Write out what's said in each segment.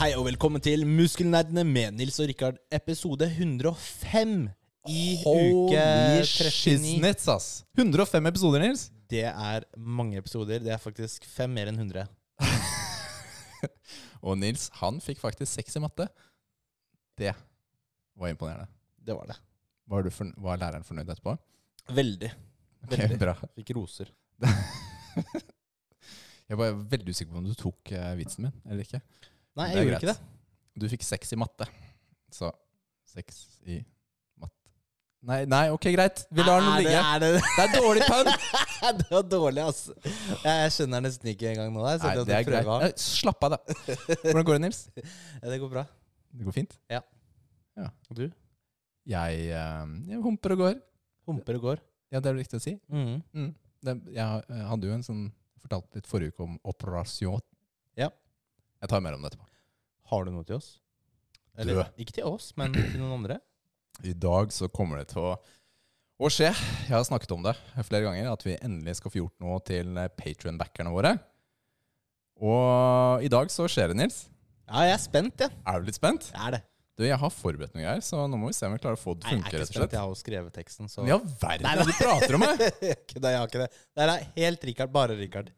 Hei og velkommen til Muskelnerdene med Nils og Rikard, episode 105 i uke 39. shiznits, ass. 105 episoder, Nils. Det er mange episoder. Det er faktisk fem mer enn 100. Og Nils, han fikk faktisk seks i matte. Det var imponerende. Det var det. Var, du forn- var læreren fornøyd etterpå? Veldig. Ok, Veldig. bra. Fikk roser. Jeg var veldig usikker på om du tok eh, vitsen min eller ikke. Nei, Det jeg er gjorde ikke greit. det. Du fikk seks i matte. Så seks i matte Nei, nei, ok, greit. Vi lar den Er det- ligge. Er det, Det er dårlig pønn! det var dårlig, ass. Jeg skjønner nesten ikke engang nå. Jeg Nei, setter det at er jeg prøver greit. av. Eh, Slapp av, da. Hvordan går det, Nils? Ja, Det går bra. Det går fint. Du? Jeg, eh, jeg humper og går. Humper og går. Ja, det er det riktig å si. Mhm. det, jeg eh, hadde jo en sånn fortalte litt forrige uke om operasjon. Ja. Jeg tar mer om det etterpå. Har du noe til oss? Eller, ikke til oss, men til noen andre? I dag så kommer det til å, å skje. Jeg har snakket om det flere ganger, at vi endelig skal få gjort noe til patrion-backerne våre. Og i dag så skjer det, Nils. Ja, jeg er spent, jeg. Ja. Er du litt spent? Jeg er det. Du, jeg har forberedt noe her, så nå må vi se om vi klarer å få det Nei, til å jeg er ikke funke, rett og spent. slett. Jeg har jo skrevet teksten, så Men i all verden, Nei, nei. du prater om meg! Kødda, jeg har ikke det. Det er helt Richard. Bare Richard.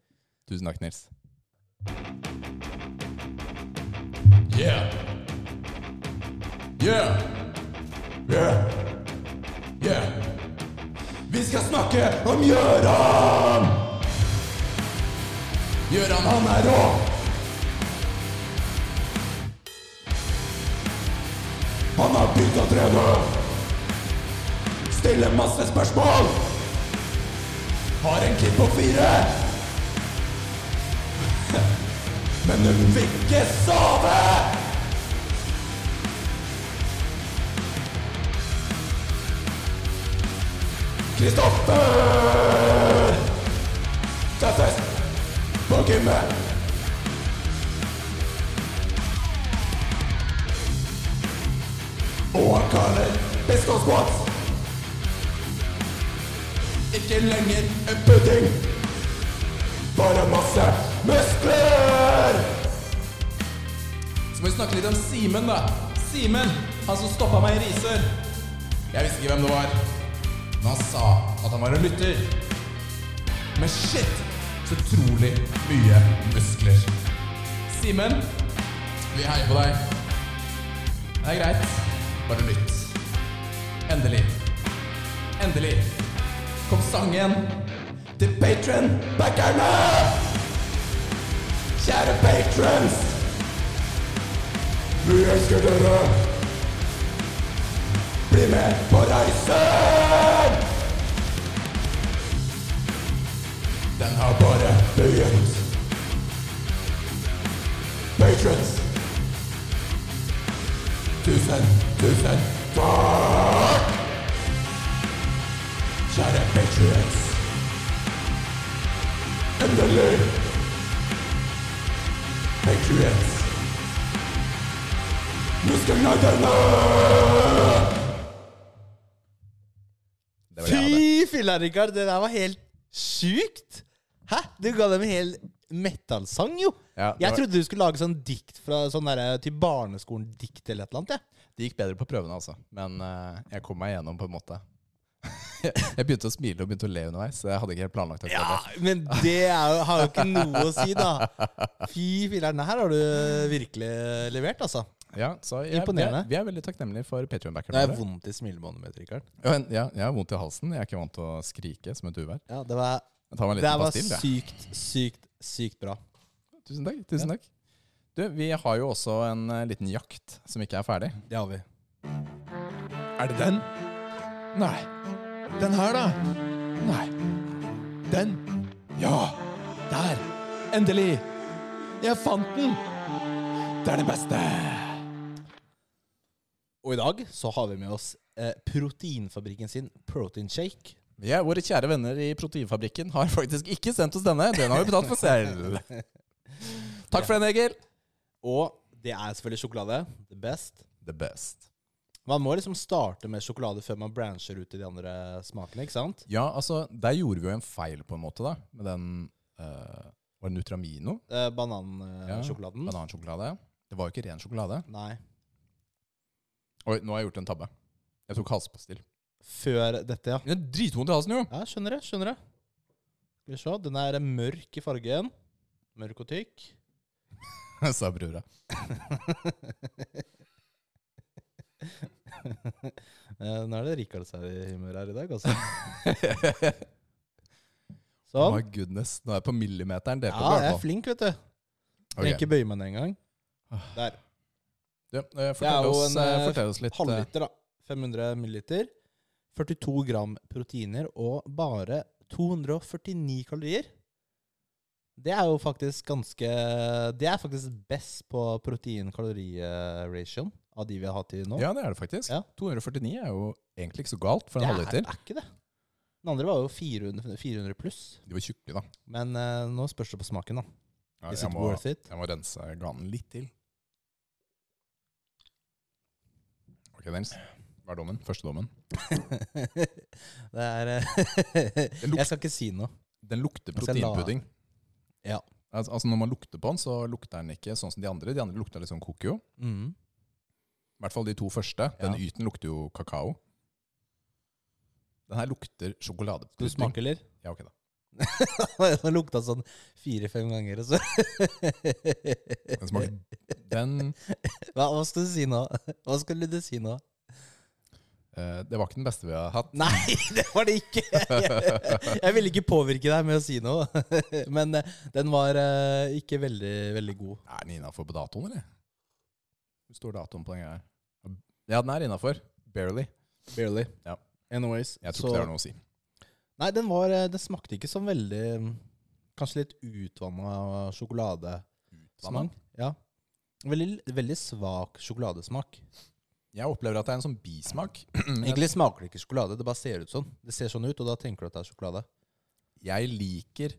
Tusen takk, Nils. Yeah. Yeah. Yeah. Vi skal snakke om Gjøran! Gjøran, han er rå! Han har begynt å trene! Stiller masse spørsmål! Har en klipp på fire! Men hun fikk ikke sove! Kristoffer! Det er fest på gymmet. Og han kaller Bisco Squats. Ikke lenger en pudding, bare masse muskler! Så må vi snakke litt om Simen, da. Simen, han som stoppa meg i Risør. Jeg visste ikke hvem det var. Men han sa at han var en lytter. Men shit, så utrolig mye muskler. Simen, vi heier på deg. Det er greit. Bare lytt. Endelig. Endelig kom sangen til patron-backerne! Kjære patrons! Vi elsker dere! Bli med på reisen! Den har bare begynt. Patrons! Tusen, tusen takk! Kjære Patriots. Endelig. Patriots. Muskelnerdene! Det var det jeg hadde. Fy filla, Richard. Det der var helt sjukt. Hæ? Du ga dem en hel metallsang, jo. Ja, det jeg var- trodde du skulle lage sånn dikt fra, sånn der, til barneskolen-dikt eller et eller annet. Ja. Det gikk bedre på prøvene, altså. Men eh, jeg kom meg gjennom på en måte. jeg begynte å smile og begynte å le underveis. så Jeg hadde ikke helt planlagt akkurat det. men det er, jo- har jo ikke noe å si, da. Fy filler'n. Her har du virkelig levert, altså. Ja, så jeg, Imponerende. Vi er, vi er veldig takknemlige for Nå Patrion-backerne har jeg våre. vondt i smilebåndet mitt, Richard. Ja, en- Ja, jeg har vondt i halsen. Jeg er ikke vant til å skrike som et uvær. Ja, det var, Jeg tar meg en det liten var pastill, jeg. sykt, sykt, sykt bra. Tusen takk. tusen takk. Du, vi har jo også en eh, liten jakt som ikke er ferdig. Det har vi. Er det den? Nei. Den her, da? Nei. Den? Ja. Der. Endelig. Jeg fant den. Det er det beste. Og i dag så har vi med oss eh, proteinfabrikken sin Protein Shake. Ja, Våre kjære venner i Proteinfabrikken har faktisk ikke sendt oss denne. Den har vi betalt for selv. Takk for den, Egil. Og det er selvfølgelig sjokolade. The best. The best. Man må liksom starte med sjokolade før man brancher ut i de andre smakene, ikke sant? Ja, altså, der gjorde vi jo en feil på en måte, da. Med den eh, Var det Nutramino? Eh, Banansjokoladen. Mm. Banansjokolade. Det var jo ikke ren sjokolade. Nei. Oi, nå har jeg gjort en tabbe. Jeg tok halspastill. Før dette, ja. Det er dritvondt i halsen, jo. Ja, skjønner jeg. skjønner jeg. Skal vi se. Den er mørk i fargen. Mørk og tykk. Sa brura. Eh, nå er det Rikard seg i humør her i dag, altså. Sånn. Oh My goodness. Nå er jeg på millimeteren. Det er på Ja, jeg er hvert fall. flink, vet du. Trenger ikke bøye meg ned engang. Der. Du, eh, Det er fortell, jo oss, en, eh, eh, fortell oss litt. eh, Halvliter, da. 500 milliliter. 42 gram proteiner og bare 249 kalorier. Det er jo faktisk ganske Det er faktisk best på protein-kalori-ration av de vi har hatt til nå. Ja, det er det faktisk. Ja. 249 er jo egentlig ikke så galt for det en er, halvliter. er ikke det. Den andre var jo 400, 400 pluss. De var tjukke, da. Men eh, nå spørs det på smaken, da. Ja, Is jeg, it må, worth it? jeg må rense ganen litt til. Ok, Nils. Hva er dommen? Første dommen. det er eh, lukter- Jeg skal ikke si noe. Den lukter Jeg skal la- proteinpudding. Ja. Altså, altså Når man lukter på den, så lukter den ikke sånn som de andre. De andre lukter litt sånn kokio. Mm. I hvert fall de to første. Den Ja. yten lukter jo kakao. Den her lukter sjokoladepudding. Skal du smake, eller? Ja, ok da. Den lukta sånn fire-fem ganger. og Så. Den smaker Den Hva, hva skal du si nå? Hva skulle du si nå? eh, Det var ikke den beste vi har hatt. Nei, det var det ikke! Jeg, jeg ville ikke påvirke deg med å si noe. Men eh, den var eh, ikke veldig, veldig god. Er den innafor på datoen, eller? Hvor står datoen på den greia her? Ja, den er innafor. Barely. Barely. Ja. Anyways. Jeg tror ikke det har noe å si. Nei, den var eh, Den smakte ikke som veldig mm, Kanskje litt utvanna sjokoladesmak. Utvannet. Ja. Veldig, veldig svak sjokoladesmak. Jeg opplever at det er en sånn bismak. Jeg, Egentlig smaker det ikke sjokolade, det bare ser ut sånn. Det ser sånn ut, og da tenker du at det er sjokolade. jeg liker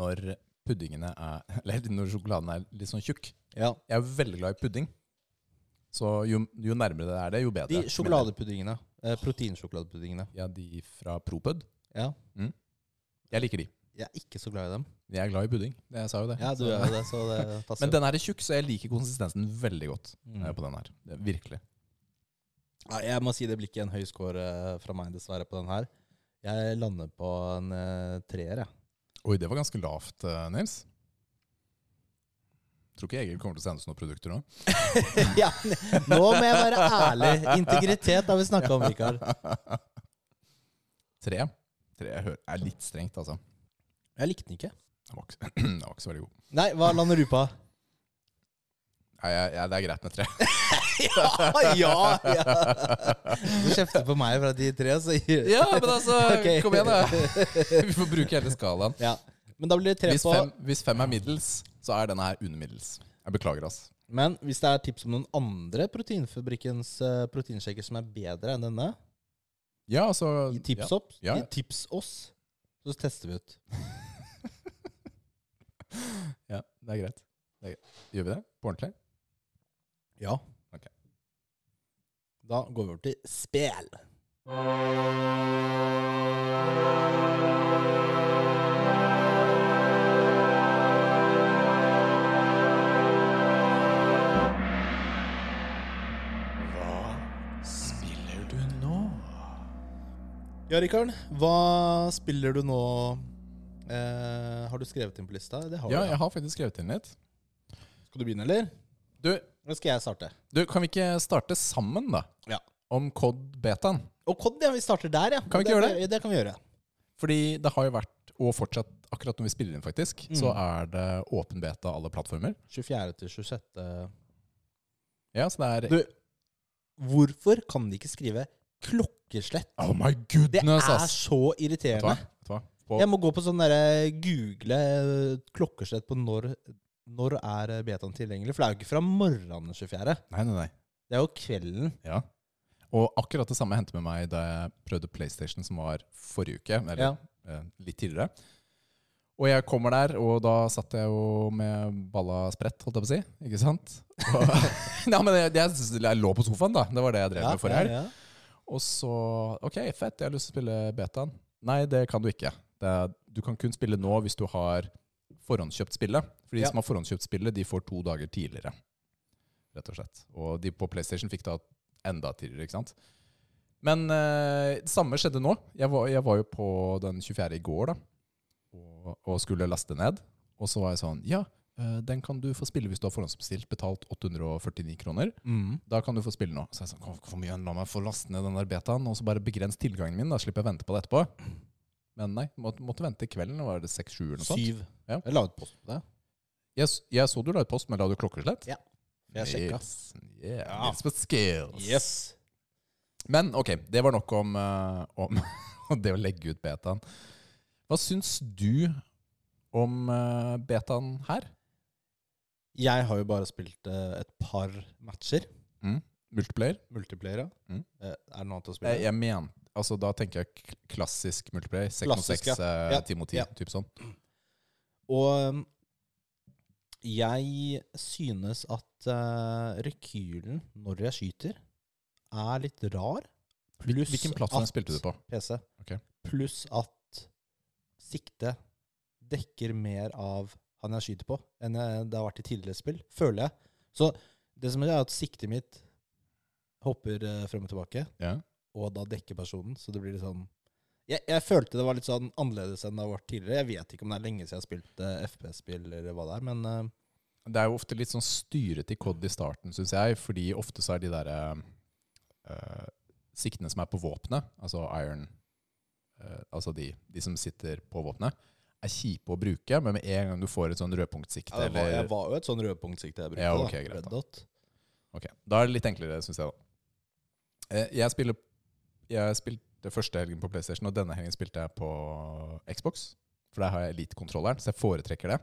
når puddingene er Eller når sjokoladen er litt sånn tjukk. Ja. Jeg er veldig glad i pudding. Så jo, jo nærmere det er det, jo bedre. De mener jeg. sjokoladepuddingene. Eh, proteinsjokoladepuddingene. Ja, de fra Propud. Ja. Jeg liker de. Jeg er ikke så glad i dem. Men Jeg er glad i pudding. Det- Jeg sa jo det. Ja, du Så- er jo det, så det passer. Men den her er tjukk, så jeg liker konsistensen veldig godt. Mm. eh, På den her. Det- Virkelig. Nei, jeg må si det blir ikke en høy score eh, fra meg, dessverre, på den her. Jeg lander på en eh, treer, jeg. Oi, det var ganske lavt, eh, Nils. Tror ikke Egil kommer til å sende oss noen produkter nå. ja, nå må jeg være ærlig. Integritet har vi snakka om, Rikard. Tre. Tre jeg hører, er litt strengt, altså. Jeg likte den ikke. Den var ikke, den var ikke så veldig god. Nei, hva lander du på? Nei, jeg, jeg, det er greit med tre. Ah, ja, ja! Du kjefter på meg for at de tre, så Ja, men altså, Ok. kom igjen, da. Vi får bruke hele skalaen. Ja. Men da blir det tre Hvis på fem, hvis fem er middels, så er denne her under middels. Jeg beklager, ass. Men hvis det er tips om noen andre proteinfabrikkens eh, proteinshaker som er bedre enn denne, Ja, altså gi tips, ja. opp, gi tips oss, så tester vi ut. Ja, det er greit. Det er greit. Gjør vi det? På ordentlig? Ja. Ok. Da går vi over til spel. Spiller du nå? Ja, Rikard, hva spiller du nå? Eh, har du skrevet inn på lista? Det har Ja, du. jeg har faktisk skrevet inn litt. Skal du begynne, eller? Du, Nå skal jeg starte. du, kan vi ikke starte sammen, da? Ja. Om Cod Betaen? Og Cod, ja. Vi starter der, ja. Kan vi ikke gjøre det? Det kan vi gjøre. Fordi det har jo vært, og fortsatt akkurat når vi spiller inn, faktisk, så Mm. er det åpen beta alle plattformer. 24. til 26. Ja, så det er Du, hvorfor kan de ikke skrive klokkeslett? Oh my Det goodness, er ass! så Vet du hva? irriterende. Vet du hva? På, Jeg må gå på sånn derre google eh, klokkeslett på når, når er eh, betaen tilgjengelig. For det er jo ikke fra morgenen den 24. Nei, nei, nei. Det er jo kvelden. Ja. Og akkurat det samme hendte med meg da jeg prøvde PlayStation, som var forrige uke. Eller Ja. eh, litt tidligere. Og jeg kommer der, og da satt jeg jo med balla spredt, holdt jeg på å si. Ikke sant? Og, Nei, men jeg, jeg, jeg lå på sofaen, da. Det var det jeg drev med forrige helg. ja. Og så OK, fett, jeg har lyst til å spille betaen. Nei, det kan du ikke. Det er, du kan kun spille nå hvis du har forhåndskjøpt spillet. For de Ja. som har forhåndskjøpt spillet, de får to dager tidligere. rett og slett. Og de på PlayStation fikk da enda tidligere, ikke sant. Men eh, det samme skjedde nå. Jeg var, jeg var jo på den 24. i går, da, og, og skulle laste ned. Og så var jeg sånn Ja, eh, den kan du få spille hvis du har forhåndsbestilt, betalt 849 kroner. Mm. Da kan du få spille nå. Så jeg sa kom, kom igjen, la meg få laste ned den der betaen, og så bare begrens tilgangen min, da slipper jeg å vente på det etterpå. Men nei, måtte, måtte vente kvelden, da var det seks-sju eller noe sånt. Syv. Ja. Jeg la ut post på det. Jeg, s- jeg så du la ut post, men la du klokkeslett? Ja, Jeg sjekka. Yes. Yeah. Ja. It's with skills. Yes. Men ok, det var nok om, eh, om det å legge ut betaen. Hva syns du om eh, betaen her? Jeg har jo bare spilt eh, et par matcher. Multiplayer? Multiplayer, ja. Mm. Eh, er det noe annet å spille? Jeg, jeg men, altså, da tenker jeg k- klassisk multiplayer. 6 mot Klassisk, 6, ja. Ja, ti mot ti, ja. typ sånn. Og um, jeg synes at eh, rekylen når jeg skyter, er litt rar. Pluss Hvilken plattform at- spilte du på? PC. Ok. Pluss at siktet dekker mer av han jeg skyter på, enn jeg, det har vært i tidligere spill, føler jeg. Så det som er, er at siktet mitt hopper eh, frem og tilbake, Ja. og da dekker personen, så det blir litt sånn jeg, jeg følte det var litt sånn annerledes enn det har vært tidligere. Jeg vet ikke om det er lenge siden jeg har spilt eh, FPS-spill, eller hva det er, men eh, Det er jo ofte litt sånn styret i COD i starten, syns jeg. Fordi ofte så er de der eh, siktene som er på våpenet, altså iron eh, Altså de, de som sitter på våpenet, er kjipe å bruke. Men med en gang du får et sånn rødpunktsikte, jeg, var, jeg eller var jo et sånn rødpunktsikte jeg brukte. Ja, ok, da. greit da. Red Dot. Ok, Da er det litt enklere, syns jeg, da. Eh, jeg spiller Jeg spilte første helgen på PlayStation, og denne helgen spilte jeg på Xbox. For der har jeg Elite-kontrolleren, så jeg foretrekker det.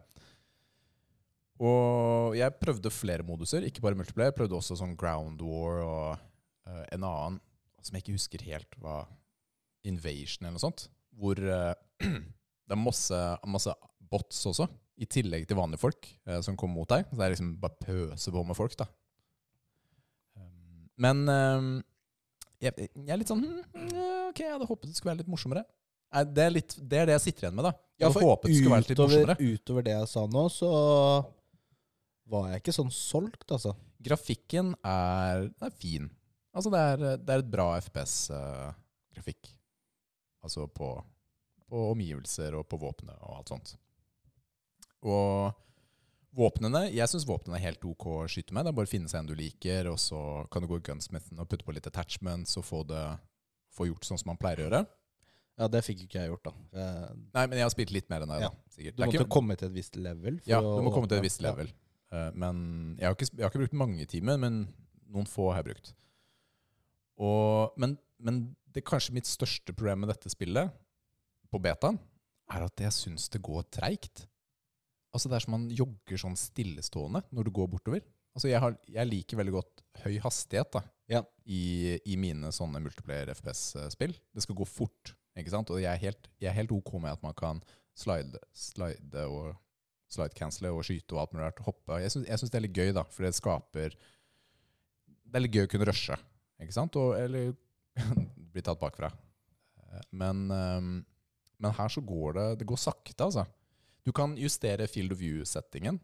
Og jeg prøvde flere moduser, ikke bare multiplayer. Jeg prøvde også sånn Ground War og eh, en annen som jeg ikke husker helt hva Invasion eller noe sånt. Hvor eh, det er masse, masse bots også, i tillegg til vanlige folk eh, som kommer mot deg. Så det er liksom bare pøse på med folk, da. Um, Men um, jeg, jeg er litt sånn hmm, eh, Ok, jeg hadde håpet det skulle være litt morsommere. Nei, Det er, litt, det, er det jeg sitter igjen med, da. Jeg hadde håpet det skulle være litt morsommere. utover, utover det jeg sa nå, så var jeg ikke sånn solgt, altså. Grafikken er, den er fin. Altså det er, det er et bra FPS-grafikk. eh, altså på, på omgivelser og på våpenet og alt sånt. Og våpnene Jeg syns våpnene er helt OK å skyte med. Det er bare å finne seg en du liker, og så kan du gå i gunsmithen og putte på litt attachments og få, det, få gjort sånn som man pleier å gjøre. Ja, det fikk jo ikke jeg gjort, da. Eh, Nei, men jeg har spilt litt mer enn deg, Ja. da. Sikkert. Du Det er måtte ikke- komme til et visst level. for Ja, å du må komme til et åpne. visst level. Eh, Men jeg har, ikke, sp- jeg har ikke brukt mange timer, men noen få har jeg brukt. Og, men, men det kanskje mitt største problem med dette spillet, på betaen, er at jeg syns det går treigt. Altså Det er som man jogger sånn stillestående når du går bortover. Altså Jeg, har, jeg liker veldig godt høy hastighet da, Ja. i, i mine sånne multiplayer FPS-spill. Det skal gå fort, ikke sant? Og jeg er helt, jeg er helt OK med at man kan slide, slide og slide-cancele og skyte og alt mulig rart. Hoppe. Jeg syns, jeg syns det er litt gøy, da, for det skaper Det er litt gøy å kunne rushe, ikke sant? Og, eller bli tatt bakfra. Eh, Men, ehm, men her så går det Det går sakte, altså. Du kan justere field of view-settingen,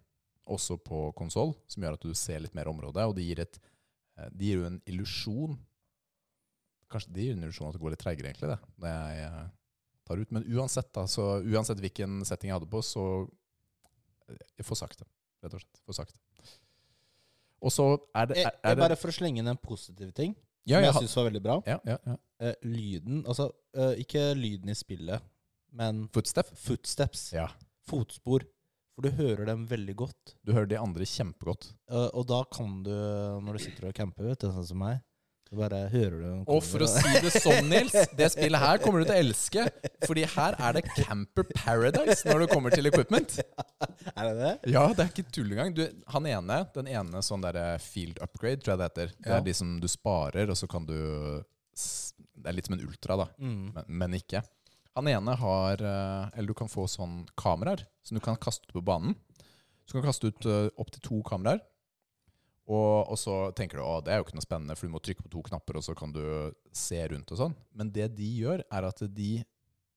også på konsoll, som gjør at du ser litt mer område, og det gir et eh, Det gir jo en illusjon Kanskje det gir en illusjon at det går litt treigere, egentlig, det, når jeg eh, tar ut. Men uansett, da, så uansett hvilken setting jeg hadde på, så eh, jeg får sakte, rett og slett. For sakte. Og så er det, Jeg, er, jeg er det bare For å slenge inn en positiv ting, som Ja, jeg jeg har- syns var veldig bra. ja, ja, ja. Eh, lyden Altså, eh, ikke lyden i spillet, men Footstep. footsteps. Ja. Fotspor. For du hører dem veldig godt. Du hører de andre kjempegodt. Eh, og da kan du, når du sitter og camper, vet du, sånn som meg, så bare hører du dem Og for å si det sånn, Nils, det spillet her kommer du til å elske. Fordi her er det Camper Paradise når det kommer til equipment. Er det det? Ja, det er ikke tull engang. Du, han ene, den ene sånn derre field upgrade, tror jeg det heter. Det Ja. er de som du sparer, og så kan du s- Det er litt som en ultra, da. Mm. men, men ikke. Han ene har eh, Eller du kan få sånn kameraer som du kan kaste ut på banen. Så du kan kaste ut opptil to kameraer. Og, og så tenker du at det er jo ikke noe spennende, for du må trykke på to knapper, og så kan du se rundt og sånn. Men det de gjør, er at de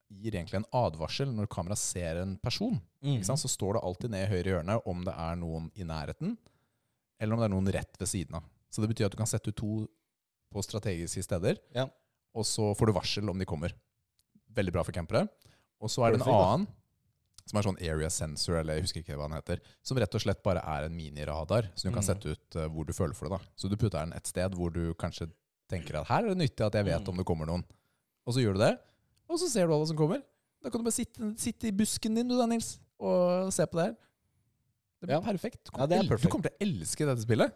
gir egentlig en advarsel når kameraet ser en person. Mm. Ikke sant? Så står det alltid ned i høyre hjørne om det er noen i nærheten, eller om det er noen rett ved siden av. Så det betyr at du kan sette ut to på strategiske steder, Ja. og så får du varsel om de kommer. Veldig bra for campere. Og så er det en Perfekt, da. annen, som er sånn area sensor, eller jeg husker ikke hva den heter, som rett og slett bare er en miniradar, så du kan Mm. sette ut eh, hvor du føler for det. da. Så du putter den et sted hvor du kanskje tenker at her er det nyttig at jeg vet Mm. om det kommer noen. Og så gjør du det, og så ser du alle som kommer. Da kan du bare sitte, sitte i busken din, du da, Nils, og se på det her. Det blir Ja. perfekt. Du Ja, det er kommer til- perfekt. Du kommer til å elske dette spillet.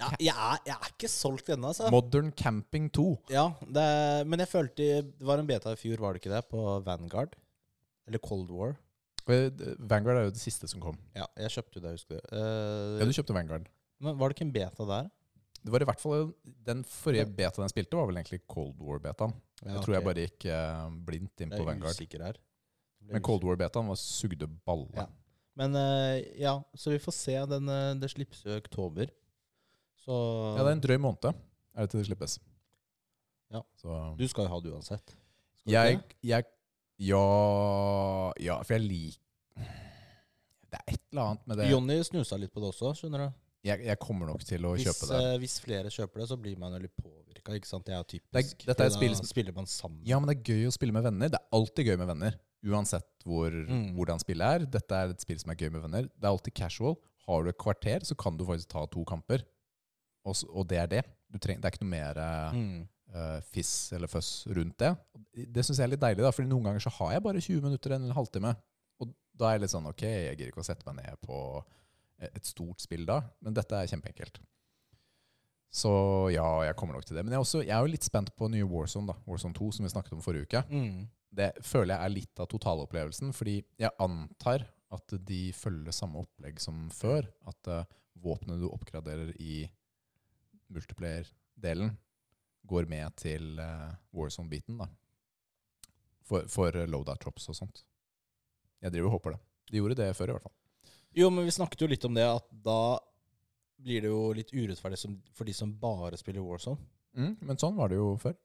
Ja, jeg, er, jeg er ikke solgt ennå, altså. Modern Camping 2. Ja, det, er- men jeg følte Det var en beta i fjor, var det ikke det? På Vanguard? Eller Cold War? Eh, d- Vanguard er jo det siste som kom. Ja, jeg kjøpte jo det, husker du. Ja, Eh, du kjøpte Vanguard. Men var det ikke en beta der? Det var i hvert fall Den forrige beta den spilte, var vel egentlig Cold War-betaen. Ja, jeg tror jeg ok. bare gikk eh, blindt inn Jeg på er Vanguard. usikker her. Men Cold War-betaen var sugde balle. Ja. Men eh, ja, så vi får se. Den, eh, det slippes jo i oktober. Så Ja, det er en drøy måned er det til det slippes. Ja. Så du skal jo ha det uansett. Skal du jeg, ikke det? jeg Ja Ja, for jeg liker Det er et eller annet med det Jonny snusa litt på det også, skjønner du. jeg, jeg kommer nok til å Hvis, kjøpe det. eh, hvis flere kjøper det, så blir man jo litt påvirka, ikke sant. Det er jo typisk. dette er et for spill da som- spiller man sammen. Ja, men det er gøy å spille med venner. Det er alltid gøy med venner. Uansett hvor, Mm. hvordan spillet er. Dette er et spill som er gøy med venner. Det er alltid casual. Har du et kvarter, så kan du faktisk ta to kamper. Og, s- og det er det. Du treng, det er ikke noe mer eh, Mm. eh, fiss eller føss rundt det. Det syns jeg er litt deilig, da, fordi noen ganger så har jeg bare 20 minutter eller en halvtime. Og da er jeg litt sånn OK, jeg gidder ikke å sette meg ned på et stort spill da, men dette er kjempeenkelt. Så ja, jeg kommer nok til det. Men jeg er, også, jeg er jo litt spent på nye Warzone, da. Warzone 2, som vi snakket om forrige uke. Mm. Det føler jeg er litt av totalopplevelsen, fordi jeg antar at de følger samme opplegg som før. At eh, våpenet du oppgraderer i multiplayer-delen, går med til eh, Warzone-biten, da. For, for loadout drops og sånt. Jeg driver og håper det. De gjorde det før, i hvert fall. Jo, men vi snakket jo litt om det, at da blir det jo litt urettferdig som, for de som bare spiller Warzone. Mm, men sånn var det jo før.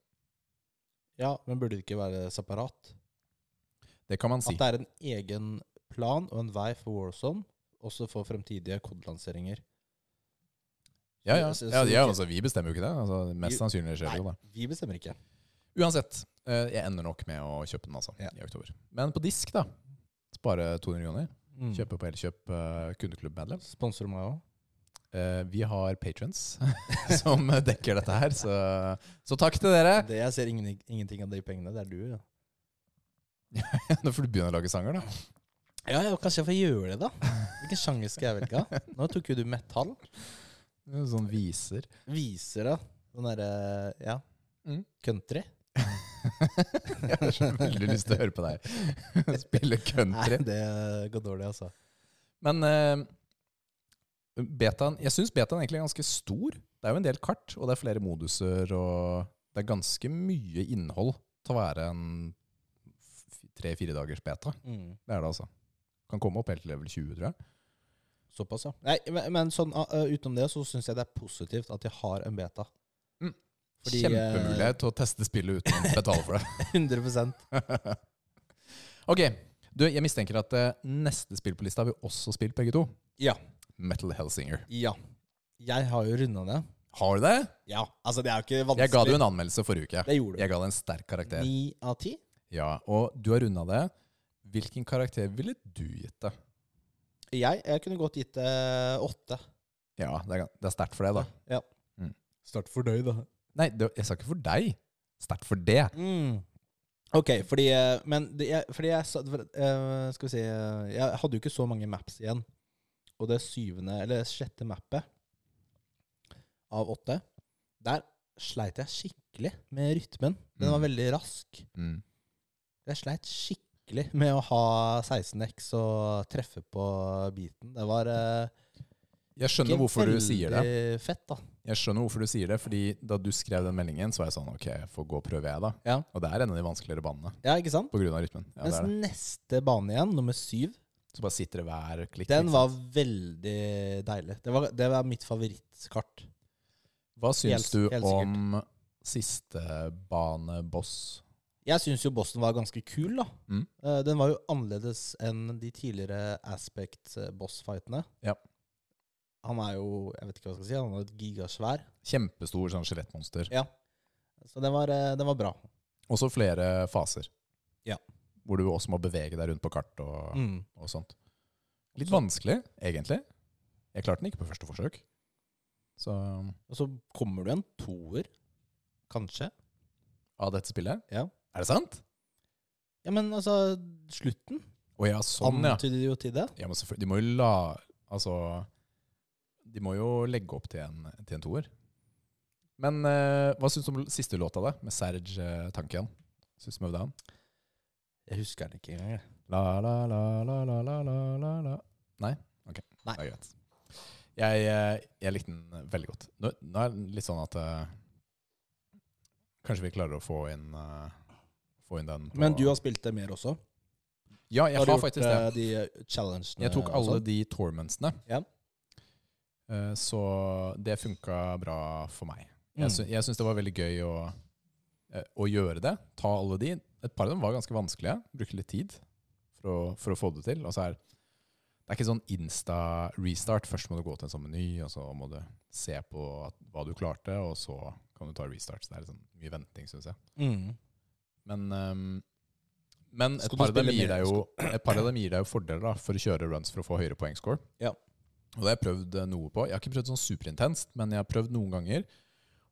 Ja, men burde det ikke være separat? Det kan man si. At det er en egen plan og en vei for Warzone, også for fremtidige kodelanseringer. Ja, ja. Så- så- ja, så ja ikke- altså, vi bestemmer jo ikke det. Altså, mest Jo, sannsynlig skjer det jo det. vi bestemmer ikke. Uansett, eh, jeg ender nok med å kjøpe den altså, Ja. i oktober. Men på disk, da. Spare 200 kroner. Mm. Kjøpe på Elkjøp eh, kundeklubbmedlem. Sponsorer meg òg. Eh, vi har patrons som dekker dette her, så, så takk til dere. Det jeg ser ingen, ingenting av de pengene. Det er du, ja. Nå får du begynne å lage sanger, da. Ja, ja, kanskje jeg får gjøre det, da. Hvilken sjanger skal jeg velge? Nå tok jo du metall. Sånn viser. Viser, da. Sånn derre Ja. Mm. Country. Jeg har så veldig lyst til å høre på deg spille country. Nei, det går dårlig, altså. Men eh, betaen, jeg syns betaen egentlig er ganske stor. Det er jo en del kart, og det er flere moduser, og det er ganske mye innhold til å være en f- tre-fire dagers beta. Mm. Det er det altså. Kan komme opp helt til level 20, tror jeg. Såpass, ja. Nei, men, men sånn, uh, uh, utenom det så syns jeg det er positivt at de har en beta. Mm. Fordi, eh, Kjempemulighet til å teste spillet uten å betale for det. 100 ok, du, jeg mistenker at eh, neste spill på lista har vi også spilt begge to. Ja. Metal Hellsinger. Ja. Jeg har jo runda det. Har du det? Ja, altså det er jo ikke vanskelig. Jeg ga det jo en anmeldelse forrige uke. Det gjorde du. Jeg ga det en sterk karakter. Ni av ti? Ja, og du har runda det. Hvilken karakter ville du gitt det? Jeg, jeg kunne godt gitt det åtte. Ja, det er, gan- det er sterkt for deg, da. Ja. Mm. Start for deg, da. Nei, det, jeg sa ikke for deg. Sterkt for det. Mm. Ok, fordi eh, Men det, jeg, fordi jeg sa for, eh, Skal vi si eh, Jeg hadde jo ikke så mange maps igjen. Og det syvende, eller sjette mappet av åtte, der sleit jeg skikkelig med rytmen. Den var Mm. veldig rask. Mm. Jeg sleit skikkelig med å ha 16X og treffe på beaten. Det var eh, Jeg skjønner hvorfor du sier det. veldig fett, da. Jeg skjønner hvorfor du sier det, fordi Da du skrev den meldingen, så var jeg sånn OK, jeg får gå og prøve, jeg, da. Ja. Og det er en av de vanskeligere banene Ja, ikke sant? på grunn av rytmen. Ja, det Mens er det. neste bane igjen, nummer syv, Så bare sitter det hver klikk. liksom. den ikke var sant? veldig deilig. Det var, det var mitt favorittkart. Hva syns helt- du helt sikkert. om siste bane boss? Jeg syns jo Boston var ganske kul, da. Mm. Eh, Den var jo annerledes enn de tidligere Aspect-boss-fightene. Ja. eh, Han er jo jeg vet ikke hva jeg skal si, han er et gigasvær. Kjempestor sånn skjelettmonster. Ja. Så den var, eh, den var bra. Også flere faser. Ja. Hvor du også må bevege deg rundt på kart og, Mm. og sånt. Litt vanskelig, egentlig. Jeg klarte den ikke på første forsøk. Så um, Og så kommer du en toer, kanskje. av dette spillet Ja. Er det sant? Ja, men altså, slutten Å ja, sånn, ja. antyder jo til det. ja men selvfølgelig- de må jo la Altså De må jo legge opp til en, til en toer. Men eh, hva syns du om siste låta, da? Med Serge eh, Tankian? Syns du møvde han? Jeg husker den ikke engang. jeg. La, la, la, la, la, la, la, la, la. Nei? Ok, Nei. det er greit. Jeg, eh, jeg likte den eh, veldig godt. Nå, nå er det litt sånn at eh, Kanskje vi klarer å få inn, eh, få inn den på Men du har spilt det mer også? Ja, jeg har, du gjort, faktisk det. eh, de eh, challengene? Jeg tok og alle sånn? de tormentsene. Ja. Eh, Så det funka bra for meg. Mm. Jeg, sy jeg syns det var veldig gøy å, eh, å gjøre det. Ta alle de. Et par av dem var ganske vanskelige. Brukte litt tid for å, for å få det til. Og så er det er ikke sånn insta-restart. Først må du gå til en sånn meny, og så må du se på at, hva du klarte, og så kan du ta restart. Så det er liksom mye venting, syns jeg. Mm. Men, ehm, men et, Skal du par av dem spille gir mer? deg jo, et par av dem gir deg jo fordeler da, for å kjøre runs for å få høyere poengscore. Ja. Og det har jeg prøvd eh, noe på. Jeg har ikke prøvd sånn superintenst, men jeg har prøvd noen ganger.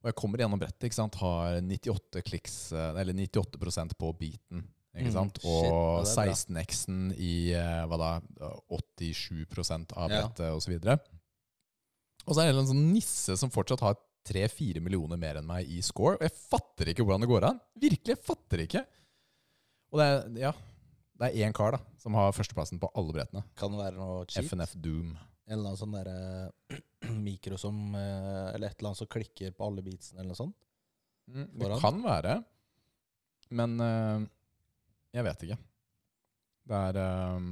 Og jeg kommer gjennom brettet, ikke sant? har 98 kliks, eh, eller 98 på beaten. Ikke Mm, sant? shit, ja, og det er bra. 16X-en i eh, hva da, 87 av Ja. brettet og osv. Og så er det en eller annen sånn nisse som fortsatt har 3-4 millioner mer enn meg i score. Og jeg fatter ikke hvordan det går an. Virkelig, jeg fatter ikke. Og det er, ja, det er én kar da, som har førsteplassen på alle brettene. Kan det være noe cheat? FNF Doom. En eller annen sånn derre mikro som eh, Eller et eller annet som klikker på alle beatsene, eller noe sånt. Mm, det Foran. kan være, men eh, jeg vet ikke. Det er eh,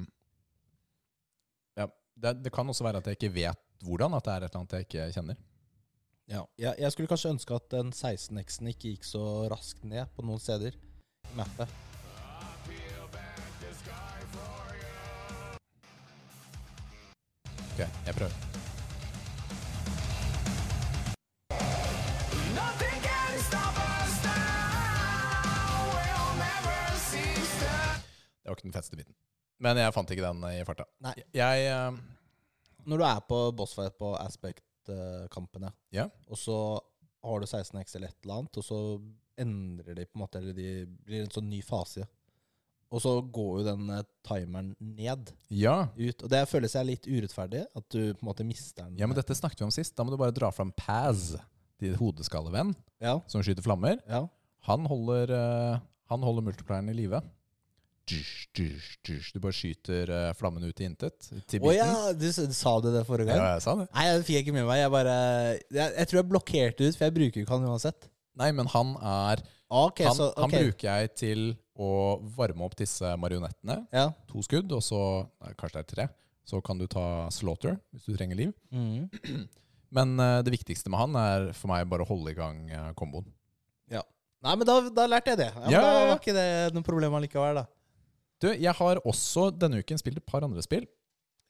ja, det, det kan også være at jeg ikke vet hvordan, at det er et eller annet jeg ikke kjenner. Ja. Jeg, jeg skulle kanskje ønske at den 16X-en ikke gikk så raskt ned på noen steder i mappet. Ok, jeg prøver. Nothing can stop us now. We'll never cease to. Det var ikke den feteste biten. Men jeg fant ikke den i farta. Nei. Jeg eh, Når du er på bossfight på eh, Aspect-kampene, Ja. og så har du 16X eller et eller annet, og så endrer de på en måte, eller de blir en sånn ny fase. Og så går jo den eh, timeren ned. Ja. Ut, og det føles jeg litt urettferdig, at du på en måte mister den. ja, men dette snakket vi om sist. Da må du bare dra fram Paz, din hodeskallevenn Ja, som skyter flammer. ja. Han holder, eh, han holder multiplieren i live. Dusj, dusj, dusj. Du bare skyter eh, flammen ut i intet. Til Å ja, biten. du, s- sa du det forrige gang? ja, jeg sa det. Nei, det fikk jeg ikke med meg. Jeg bare Jeg, jeg tror jeg blokkerte ut, for jeg bruker jo ikke han uansett. Ah, Nei, men han er Ok, han, så han ok. bruker jeg til å varme opp disse marionettene. Ja. To skudd, og så nei, Kanskje det er tre. Så kan du ta slaughter hvis du trenger liv. Mhm. Men eh, det viktigste med han er for meg bare å holde i gang eh, komboen. Nei, men da, da lærte jeg det. Ja, men Ja, Da ja, ja. var ikke det noe problem allikevel, da. Du, jeg har også denne uken spilt et par andre spill.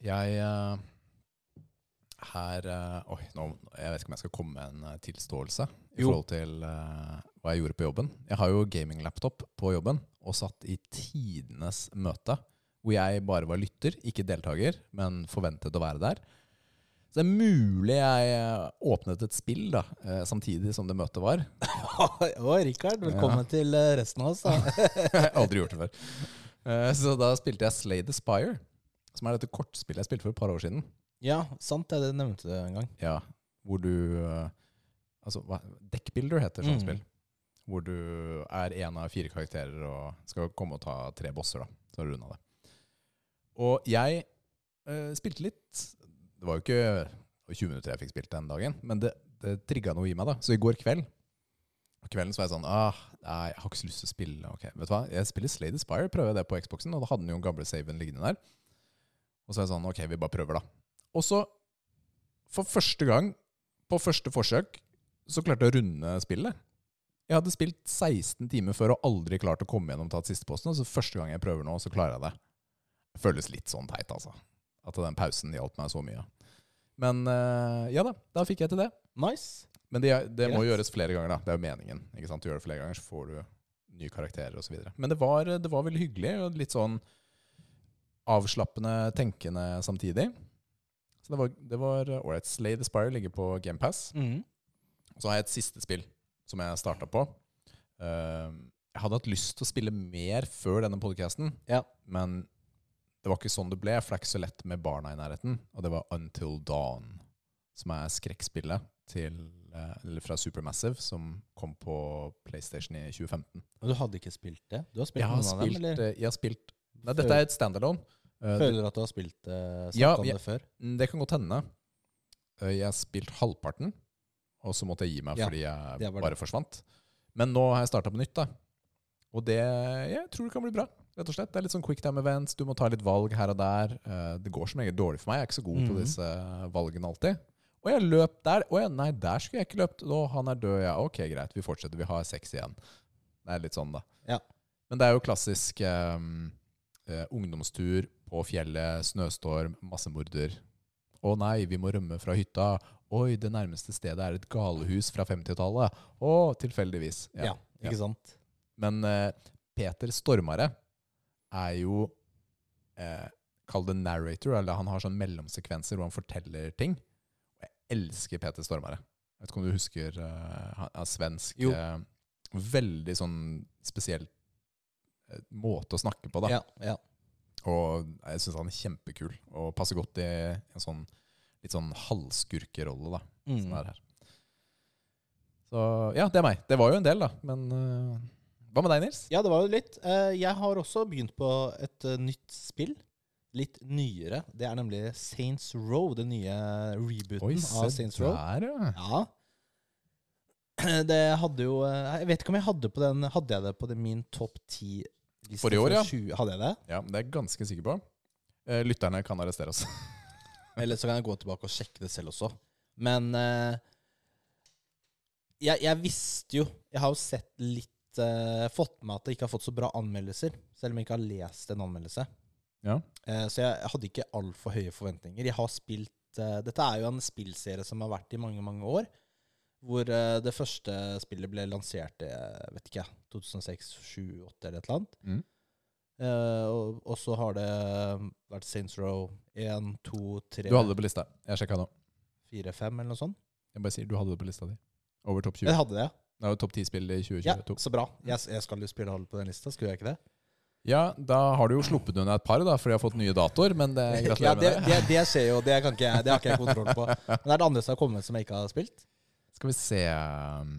Jeg eh, her eh, Oi, nå, jeg vet ikke om jeg skal komme med en eh, tilståelse i Jo. forhold til eh, hva jeg gjorde på jobben. Jeg har jo gaminglaptop på jobben og satt i tidenes møte hvor jeg bare var lytter, ikke deltaker, men forventet å være der. Så det er mulig jeg eh, åpnet et spill da, eh, samtidig som det møtet var. Å, Rikard, velkommen til eh, resten av oss. da. Jeg har aldri gjort det før. Eh, Så da spilte jeg Slay the Spire, som er dette kortspillet jeg spilte for et par år siden. ja, sant det. Det nevnte du en gang. Ja, hvor du eh, Altså, hva, Deckbuilder heter sånt Mm. spill. Hvor du er en av fire karakterer og skal komme og ta tre bosser, da. Så har du runda det. Og jeg eh, spilte litt Det var jo ikke det var 20 minutter jeg fikk spilt den dagen, men det, det trigga noe i meg, da. Så i går kveld på kvelden så var jeg sånn ah, Nei, jeg har ikke så lyst til å spille. Ok, vet du hva? Jeg spiller Slay the Spire, prøver jeg det på Xboxen, og da hadde den jo den gamle saven liggende der. Og så er jeg sånn Ok, vi bare prøver, da. Og så, for første gang på første forsøk, så klarte jeg å runde spillet. Jeg hadde spilt 16 timer før og aldri klart å komme gjennom tatt siste posten, og så første gang jeg prøver nå, så klarer jeg det. Det føles litt sånn teit, altså. At den pausen hjalp meg så mye. Men eh, ja da, da fikk jeg til det. Nice. Men det, det må Greit. gjøres flere ganger, da. Det er jo meningen. ikke sant? Du gjør det flere ganger, så får du nye karakterer osv. Men det var, det var veldig hyggelig, og litt sånn avslappende tenkende samtidig. Så det var, det var ålreit. Slay the Spire ligger på GamePass. Mhm. Og så har jeg et siste spill som jeg starta på. Eh, jeg hadde hatt lyst til å spille mer før denne podkasten, Ja. men det var ikke sånn det ble, for det er ikke så lett med barna i nærheten. Og det var Until Dawn, som er skrekkspillet til, eh, eller fra Supermassive, som kom på PlayStation i 2015. Men du hadde ikke spilt det? Du har spilt Jeg har noen av dem, spilt, eller? eh, jeg har spilt Nei, dette er et standalone. Eh, det- Føler du at du har spilt eh, snakket Ja, om ja. det før? Mm, Det kan godt hende. Eh, Jeg har spilt halvparten, og så måtte jeg gi meg Ja, fordi jeg det var det. bare forsvant. Men nå har jeg starta på nytt, da. Og det jeg tror det kan bli bra. rett og slett. Det er litt sånn quick time events, du må ta litt valg her og der. Eh, Det går som regel dårlig for meg, jeg er ikke så god på Mhm. disse valgene alltid. Og jeg løp der. Å ja, nei, der skulle jeg ikke løpt. Å, han er død, ja. Ok, greit, vi fortsetter. Vi har seks igjen. Det er litt sånn, da. Ja. Men det er jo klassisk ehm, eh, ungdomstur på fjellet, snøstorm, massemorder. Å nei, vi må rømme fra hytta. Oi, det nærmeste stedet er et galehus fra 50-tallet. Å, tilfeldigvis. Ja, ikke sant? Men eh, Peter Stormare er jo eh, Kall det narrator, eller han har sånn mellomsekvenser hvor han forteller ting. Og jeg elsker Peter Stormare. Jeg vet ikke om du husker eh, Han er svensk. Jo. eh, veldig sånn spesiell eh, måte å snakke på, da. Ja, ja. Og jeg syns han er kjempekul, og passer godt i en sånn litt sånn halvskurkerolle, da. Mm. Som er her. Så ja, det er meg. Det var jo en del, da. Men eh, hva med deg, Nils? Ja, det var jo litt. Eh, Jeg har også begynt på et eh, nytt spill. Litt nyere. Det er nemlig Saints Row, den nye eh, rebooten av Saints Row. der, ja. Ja. Det hadde jo eh, Jeg vet ikke om jeg hadde på den Hadde jeg det på den min topp ti-liste? Forrige år, ja. Hadde jeg det? ja. Det er jeg ganske sikker på. Eh, lytterne kan arrestere oss. Eller så kan jeg gå tilbake og sjekke det selv også. Men eh, jeg, jeg visste jo Jeg har jo sett litt eh, Fått med at det ikke har fått så bra anmeldelser, selv om jeg ikke har lest en anmeldelse. Ja. Eh, så jeg hadde ikke altfor høye forventninger. Jeg har spilt eh, Dette er jo en spillserie som har vært i mange, mange år. Hvor eh, det første spillet ble lansert i eh, vet ikke, jeg, 2006, 2007, 2008 eller et eller annet. Mm. Eh, og, og så har det eh, vært Saints Row 1, 2, 3 Du hadde det på lista. Jeg sjekka nå. 4-5 eller noe sånt. Jeg bare sier du hadde det på lista di. Over topp 20. Jeg hadde det, ja. Det er jo topp 10-spill i 2022. ja så bra. Jeg, jeg skal jo spille og holde på den lista, skulle jeg ikke det? Eh, Ja, da har du jo sluppet unna et par, da, for de har fått nye datoer. Men det, ja, gratulerer det, med det. det, det skjer jo, det, kan ikke jeg, det har ikke jeg kontroll på. Men det er det andre som har kommet som jeg ikke har spilt. Skal vi se um,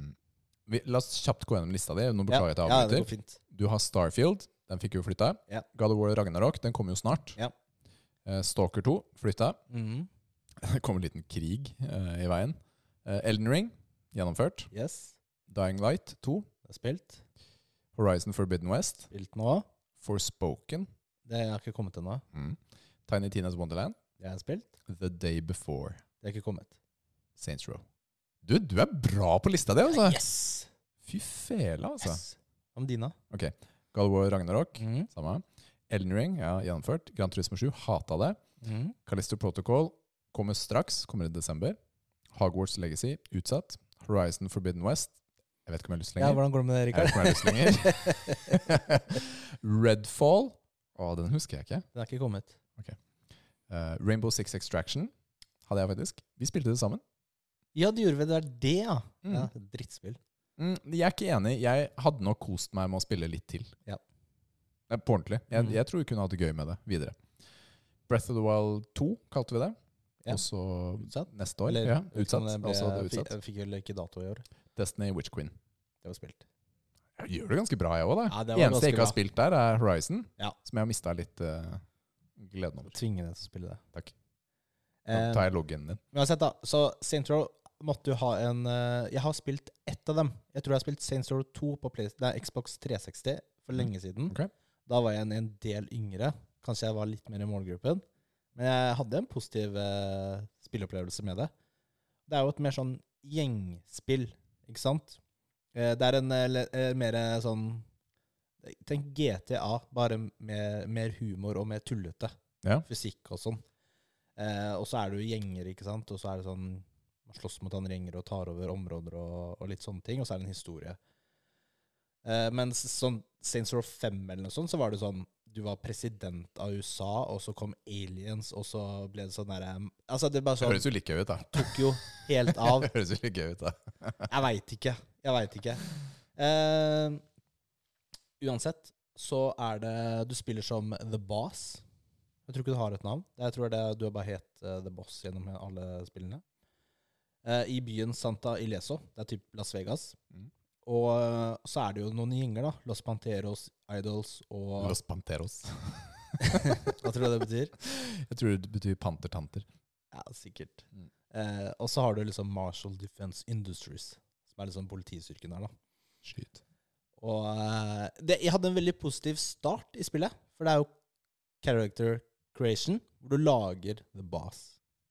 vi, La oss kjapt gå gjennom lista di. Nå beklager jeg at jeg ja, det avbryter. går fint. du har Starfield. Den fikk jo flytta. Ja. God of War Ragnarok. Den kommer jo snart. Ja. Eh, Stalker 2 flytta. Mhm, Det kom en liten krig eh, i veien. Eh, Elden Ring gjennomført. Yes, Dying Light 2. det er spilt. Horizon Forbidden West. Spilt nå. Forspoken. Det har ikke kommet ennå. Mm. Tiny Tina's Wonderland. Det er spilt. The Day Before. Det er ikke kommet. Saints Row. Du, du er bra på lista di, altså! Yes! Fy fela, altså. yes. Om dina. God of War Ragnarok. Mhm, Samme. Elden Ring, ja, gjennomført. Gran Turismo 7, hata det. mhm. Callisto Protocol kommer straks, kommer i desember. Hogwarts Legacy, utsatt. Horizon Forbidden West, jeg vet ikke om jeg har lyst Ja, lenger. hvordan går det med det, Jeg Rikard? vet ikke om jeg har lyst lenger. Redfall, å, den husker jeg ikke. Det er ikke kommet. Eh, Rainbow Six Extraction hadde jeg faktisk. Vi spilte det sammen. Ja, det gjorde vel det er det, ja. Mm. ja drittspill. Mm, jeg er ikke enig. Jeg hadde nok kost meg med å spille litt til. Ja. Nei, På ordentlig. Jeg, Mm. jeg tror vi kunne hatt det gøy med det videre. Breath of the Wild 2 kalte vi det. Ja. Også Utsatt. neste år. Eller, ja, vet ikke om utsatt. det ble- Også det jeg fikk- utsatt. Jeg fikk vel ikke dato i år. Destiny Witch Queen. Det var spilt. Jeg gjør det ganske bra, jeg òg. Ja, det det var Eneste ganske jeg ikke har bra. spilt der, er Horizon. Ja. Som jeg har mista litt eh, gleden over. Tvinge deg til å spille det. Takk. Nå Eh, tar jeg loggen din. men uansett, da. Så Saints Row måtte jo ha en eh, Jeg har spilt ett av dem. Jeg tror jeg har spilt Saints Row 2 på Play, nei, Xbox 360 for lenge siden. Ok. Da var jeg en, en del yngre. Kanskje jeg var litt mer i målgruppen. Men jeg hadde en positiv eh, spilleopplevelse med det. Det er jo et mer sånn gjengspill, ikke sant? Eh, det er en eh, le- eh, mer eh, sånn Tenk GTA, bare med mer humor og mer tullete Ja. fysikk og sånn. Eh, Eh, og så er det jo gjenger, ikke sant. Og så er det sånn Man slåss mot andre gjenger og tar over områder og, og litt sånne ting. Og så er det en historie. Eh, men s- sånn Saints Row 5 eller noe sånt, så var det sånn Du var president av USA, og så kom aliens, og så ble det sånn derre Altså, det er bare Det sånn høres jo litt gøy ut, da. Tok jo helt av. Det høres jo litt gøy ut, da. Jeg veit ikke. Jeg veit ikke. Eh, uansett så er det Du spiller som The Boss. Jeg tror ikke du har et navn. Jeg tror det, du har bare het eh, The Boss gjennom alle spillene. Eh, I byen Santa Ileso. Det er typ Las Vegas. Mm. Og eh, så er det jo noen gjenger, da. Los Panteros, Idols og Los Panteros. Hva tror du det betyr? Jeg tror det betyr pantertanter. Ja, sikkert. Mm. Eh, og så har du liksom Marshall Defense Industries, som er liksom politistyrken der, da. Skyt. Og eh, det, jeg hadde en veldig positiv start i spillet, for det er jo character creation, hvor du lager the boss,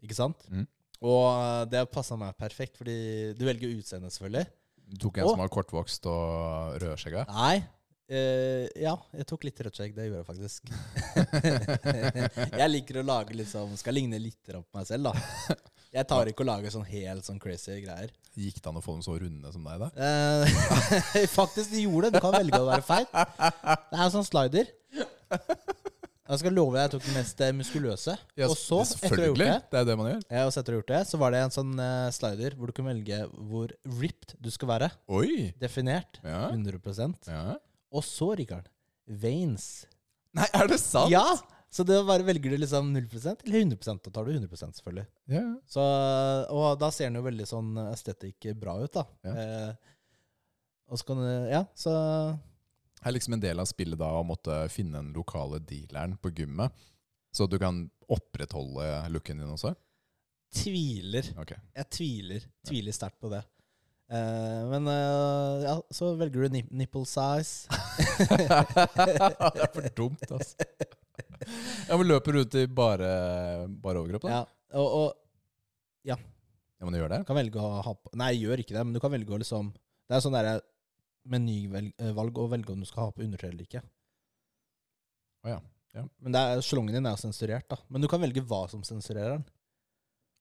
ikke sant? Mm. Og eh, det passa meg perfekt, fordi du velger utseende, selvfølgelig. Du tok en Å. som var kortvokst og rødskjegga. Nei. eh, ja, jeg tok litt rødt skjegg. Det gjorde jeg faktisk. jeg liker å lage litt sånn Skal ligne litt på meg selv, da. Jeg tar ikke å lage sånn helt sånn crazy greier. Gikk det an å få dem så runde som deg, da? Eh, faktisk, de gjorde det. Du kan velge å være feit. Det er en sånn slider. Jeg skal love deg jeg tok den mest eh, muskuløse. og så, etter å ha gjort det, Det er det man gjør. ja, og så etter å ha gjort det, så var det en sånn eh, slider hvor du kunne velge hvor ripped du skal være. Oi! Definert. Ja. 100 ja. Og så, Rikard, veins. Nei, er det sant? Ja! Så det bare velger du liksom 0 eller 100 Da tar du 100 selvfølgelig. Ja. Så, og da ser den jo veldig sånn estetikk bra ut, da. Ja. Eh, og så kan du Ja, så Er liksom en del av spillet da å måtte finne den lokale dealeren på gymmet, så du kan opprettholde looken din også? tviler. Ok. Jeg tviler. Tviler sterkt på det. Eh, men eh, ja, så velger du nip nipple size. det er for dumt, altså. Ja, men løper du ut i bare, bare overkropp, da? ja, og, og Ja, men du gjør det? du kan velge å ha på Nei, jeg gjør ikke det, men du kan velge å liksom Det er sånn derre menyvalg eh, å velge om du skal ha på undertøy eller ikke. Å ja, ja. Men det er, Slongen din er jo sensurert, da. Men du kan velge hva som sensurerer den.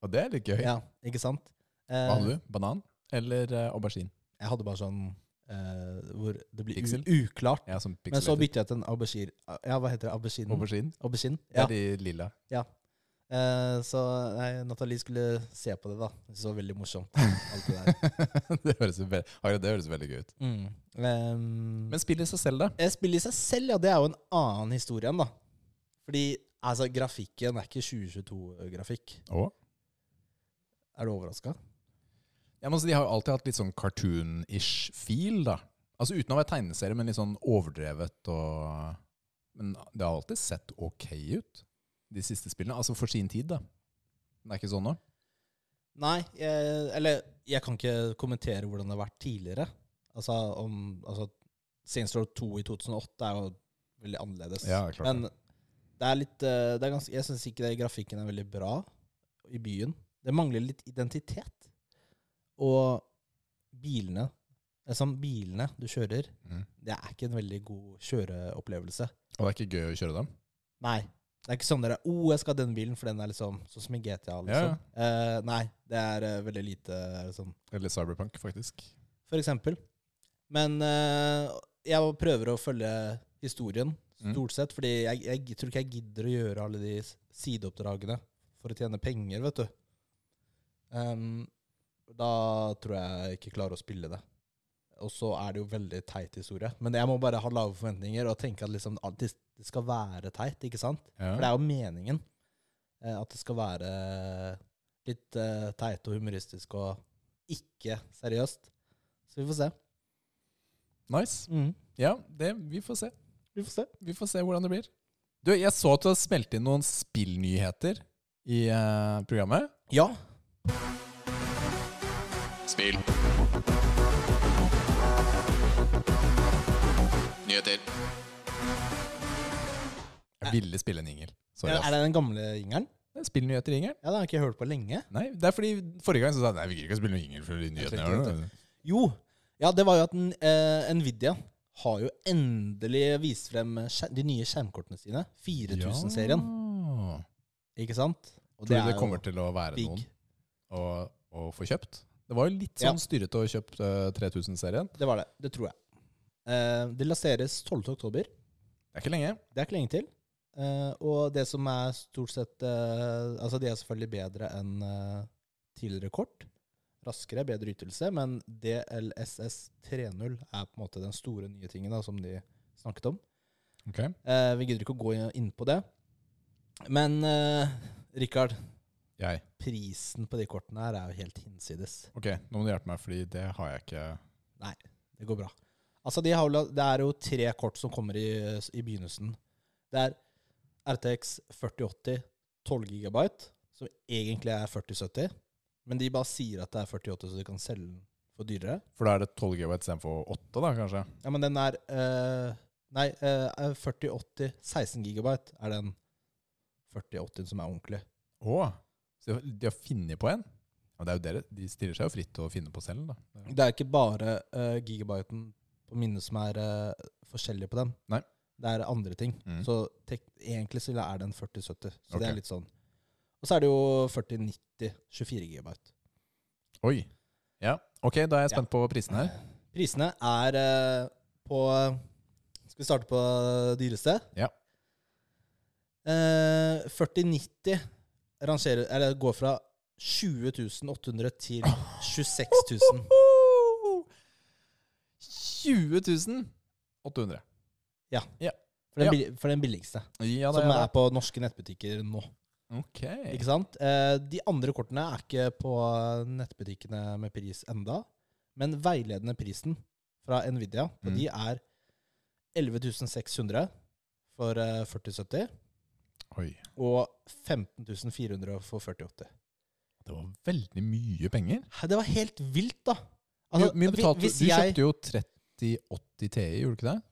Og det er litt gøy. Ja, ikke sant? Eh, Hva hadde du? Banan eller eh, aubergine? Jeg hadde bare sånn eh, hvor det blir Pixel? u- uklart. Ja, som Men så pixelated. bytter jeg til en aubergine. Ja, hva heter det? Aubergine? Aubergine? Aubergine? Det Ja. er de lilla. Eh, så nei, Nathalie skulle se på det, da. Det så veldig morsomt. Alt det der. det, høres jo ve Harry, det høres veldig gøy ut. Mm. Ehm, Men spill i seg selv, da. eh, spillet i seg selv, ja, det er jo en annen historie enn, da. Fordi altså, grafikken er ikke 2022-grafikk. Å? Er du overraska? Ja, men altså, de har jo alltid hatt litt sånn cartoon-ish feel, da. Altså uten å være tegneserie, men litt sånn overdrevet og Men det har alltid sett ok ut, de siste spillene. Altså for sin tid, da. Men det er ikke sånn nå. Nei, jeg, eller jeg kan ikke kommentere hvordan det har vært tidligere. Altså, om, altså Saints Row 2 i 2008 er jo veldig annerledes. Ja, klart Men det er litt eh, det er ganske, Jeg syns ikke det, grafikken er veldig bra i byen. Det mangler litt identitet. Og bilene Liksom bilene du kjører, Mm. det er ikke en veldig god kjøreopplevelse. Og det er ikke gøy å kjøre dem. Nei. Det er ikke sånn dere oh, jeg skal ha den bilen, for den er liksom sånn som i GTA. liksom. Ja, Eh, nei, det er eh, veldig lite eh, sånn, Eller Cyberpunk, faktisk. for eksempel. Men eh, jeg prøver å følge historien, Mm. stort sett, fordi jeg, jeg tror ikke jeg gidder å gjøre alle de s- sideoppdragene for å tjene penger, vet du. Ehm, da tror jeg jeg ikke klarer å spille det. Og så er det jo veldig teit historie. Men jeg må bare ha lave forventninger og tenke at liksom, alt det det skal være teit, ikke sant? For det Ja. er jo meningen eh, at det skal være litt eh, teit og humoristisk og ikke seriøst. Så vi får se. Nice. Ja, det, vi får se. Mm. Vi får se. Vi får se hvordan det blir. Du, jeg så at du har smelt inn noen spillnyheter i eh, programmet. Ja. Spill. Nyheter. Jeg ville spille en jingle. Sorry, Er ass. det den gamle jingeren? Det er Spillnyheter i jingle? Ja, den har jeg ikke hørt på lenge. Nei, det er fordi forrige gang så sa jeg nei, vi gidder ikke å spille noen jingle for de nyhetene. tenkte gjør det?» Jo. Ja, det var jo at den, eh, Nvidia har jo endelig vist frem skjer- de nye skjermkortene sine. 4000-serien, Ja. ikke sant? Og Tror du er det jo kommer til å være big. noen å, å få kjøpt? Det var jo litt Ja. sånn styrete å kjøpe 3000-serien. Det var det. Det tror jeg. Eh, det lanseres 12. oktober. Det er ikke lenge. Det er ikke lenge til. Eh, og det som er stort sett eh, Altså, de er selvfølgelig bedre enn eh, tidligere kort. Raskere, bedre ytelse, men DLSS 3.0 er på en måte den store nye tingen da, som de snakket om. Ok. Eh, vi gidder ikke å gå inn- inn på det. Men eh, Rikard, Jeg. prisen på de kortene her er jo helt hinsides. Ok, nå må du hjelpe meg, fordi det har jeg ikke Det går bra. Altså, de har, jo la- det er jo tre kort som kommer i, i begynnelsen. Det er RTX 4080 12 GB, som egentlig er 4070. Men de bare sier at det er 4080, så de kan selge den for dyrere. For da er det 12 GB istedenfor 8, da, kanskje? Ja, men den er eh, Nei, eh, 4080 16 GB er den 4080 som er ordentlig. Å! Så de har- de har funnet på en? Ja, det er jo dere. De stiller seg jo fritt til å finne på selv, da. Det er ikke bare eh, gigabyten på minnet som er eh, forskjellig på dem. Nei. Det er andre ting. Mm. Så tek egentlig så er den 4070. Så det Ok. er litt sånn. Og så er det jo 4090 24 gigabyte. Oi. Ja. Ok, da er jeg Ja. spent på prisen her. Prisene er eh, på Skal vi starte på dyreste? Ja. Eh, 4090 rangerer, eller går fra 20 800 til 26 000. 20 800. For den, Ja. billi- for den billigste. Ja, som ja, er på norske nettbutikker nå. Ok. Ikke sant? Eh, de andre kortene er ikke på nettbutikkene med pris enda, men veiledende prisen fra Nvidia på Mm. de er 11.600 for eh, 4070 Oi. og 15.400 for 4080. Det var veldig mye penger. Hæ, Det var helt vilt, da! Hvor Altså, mye hvi- betalte, hvis du jeg- kjøpte jo 3080 TI, gjorde du ikke det?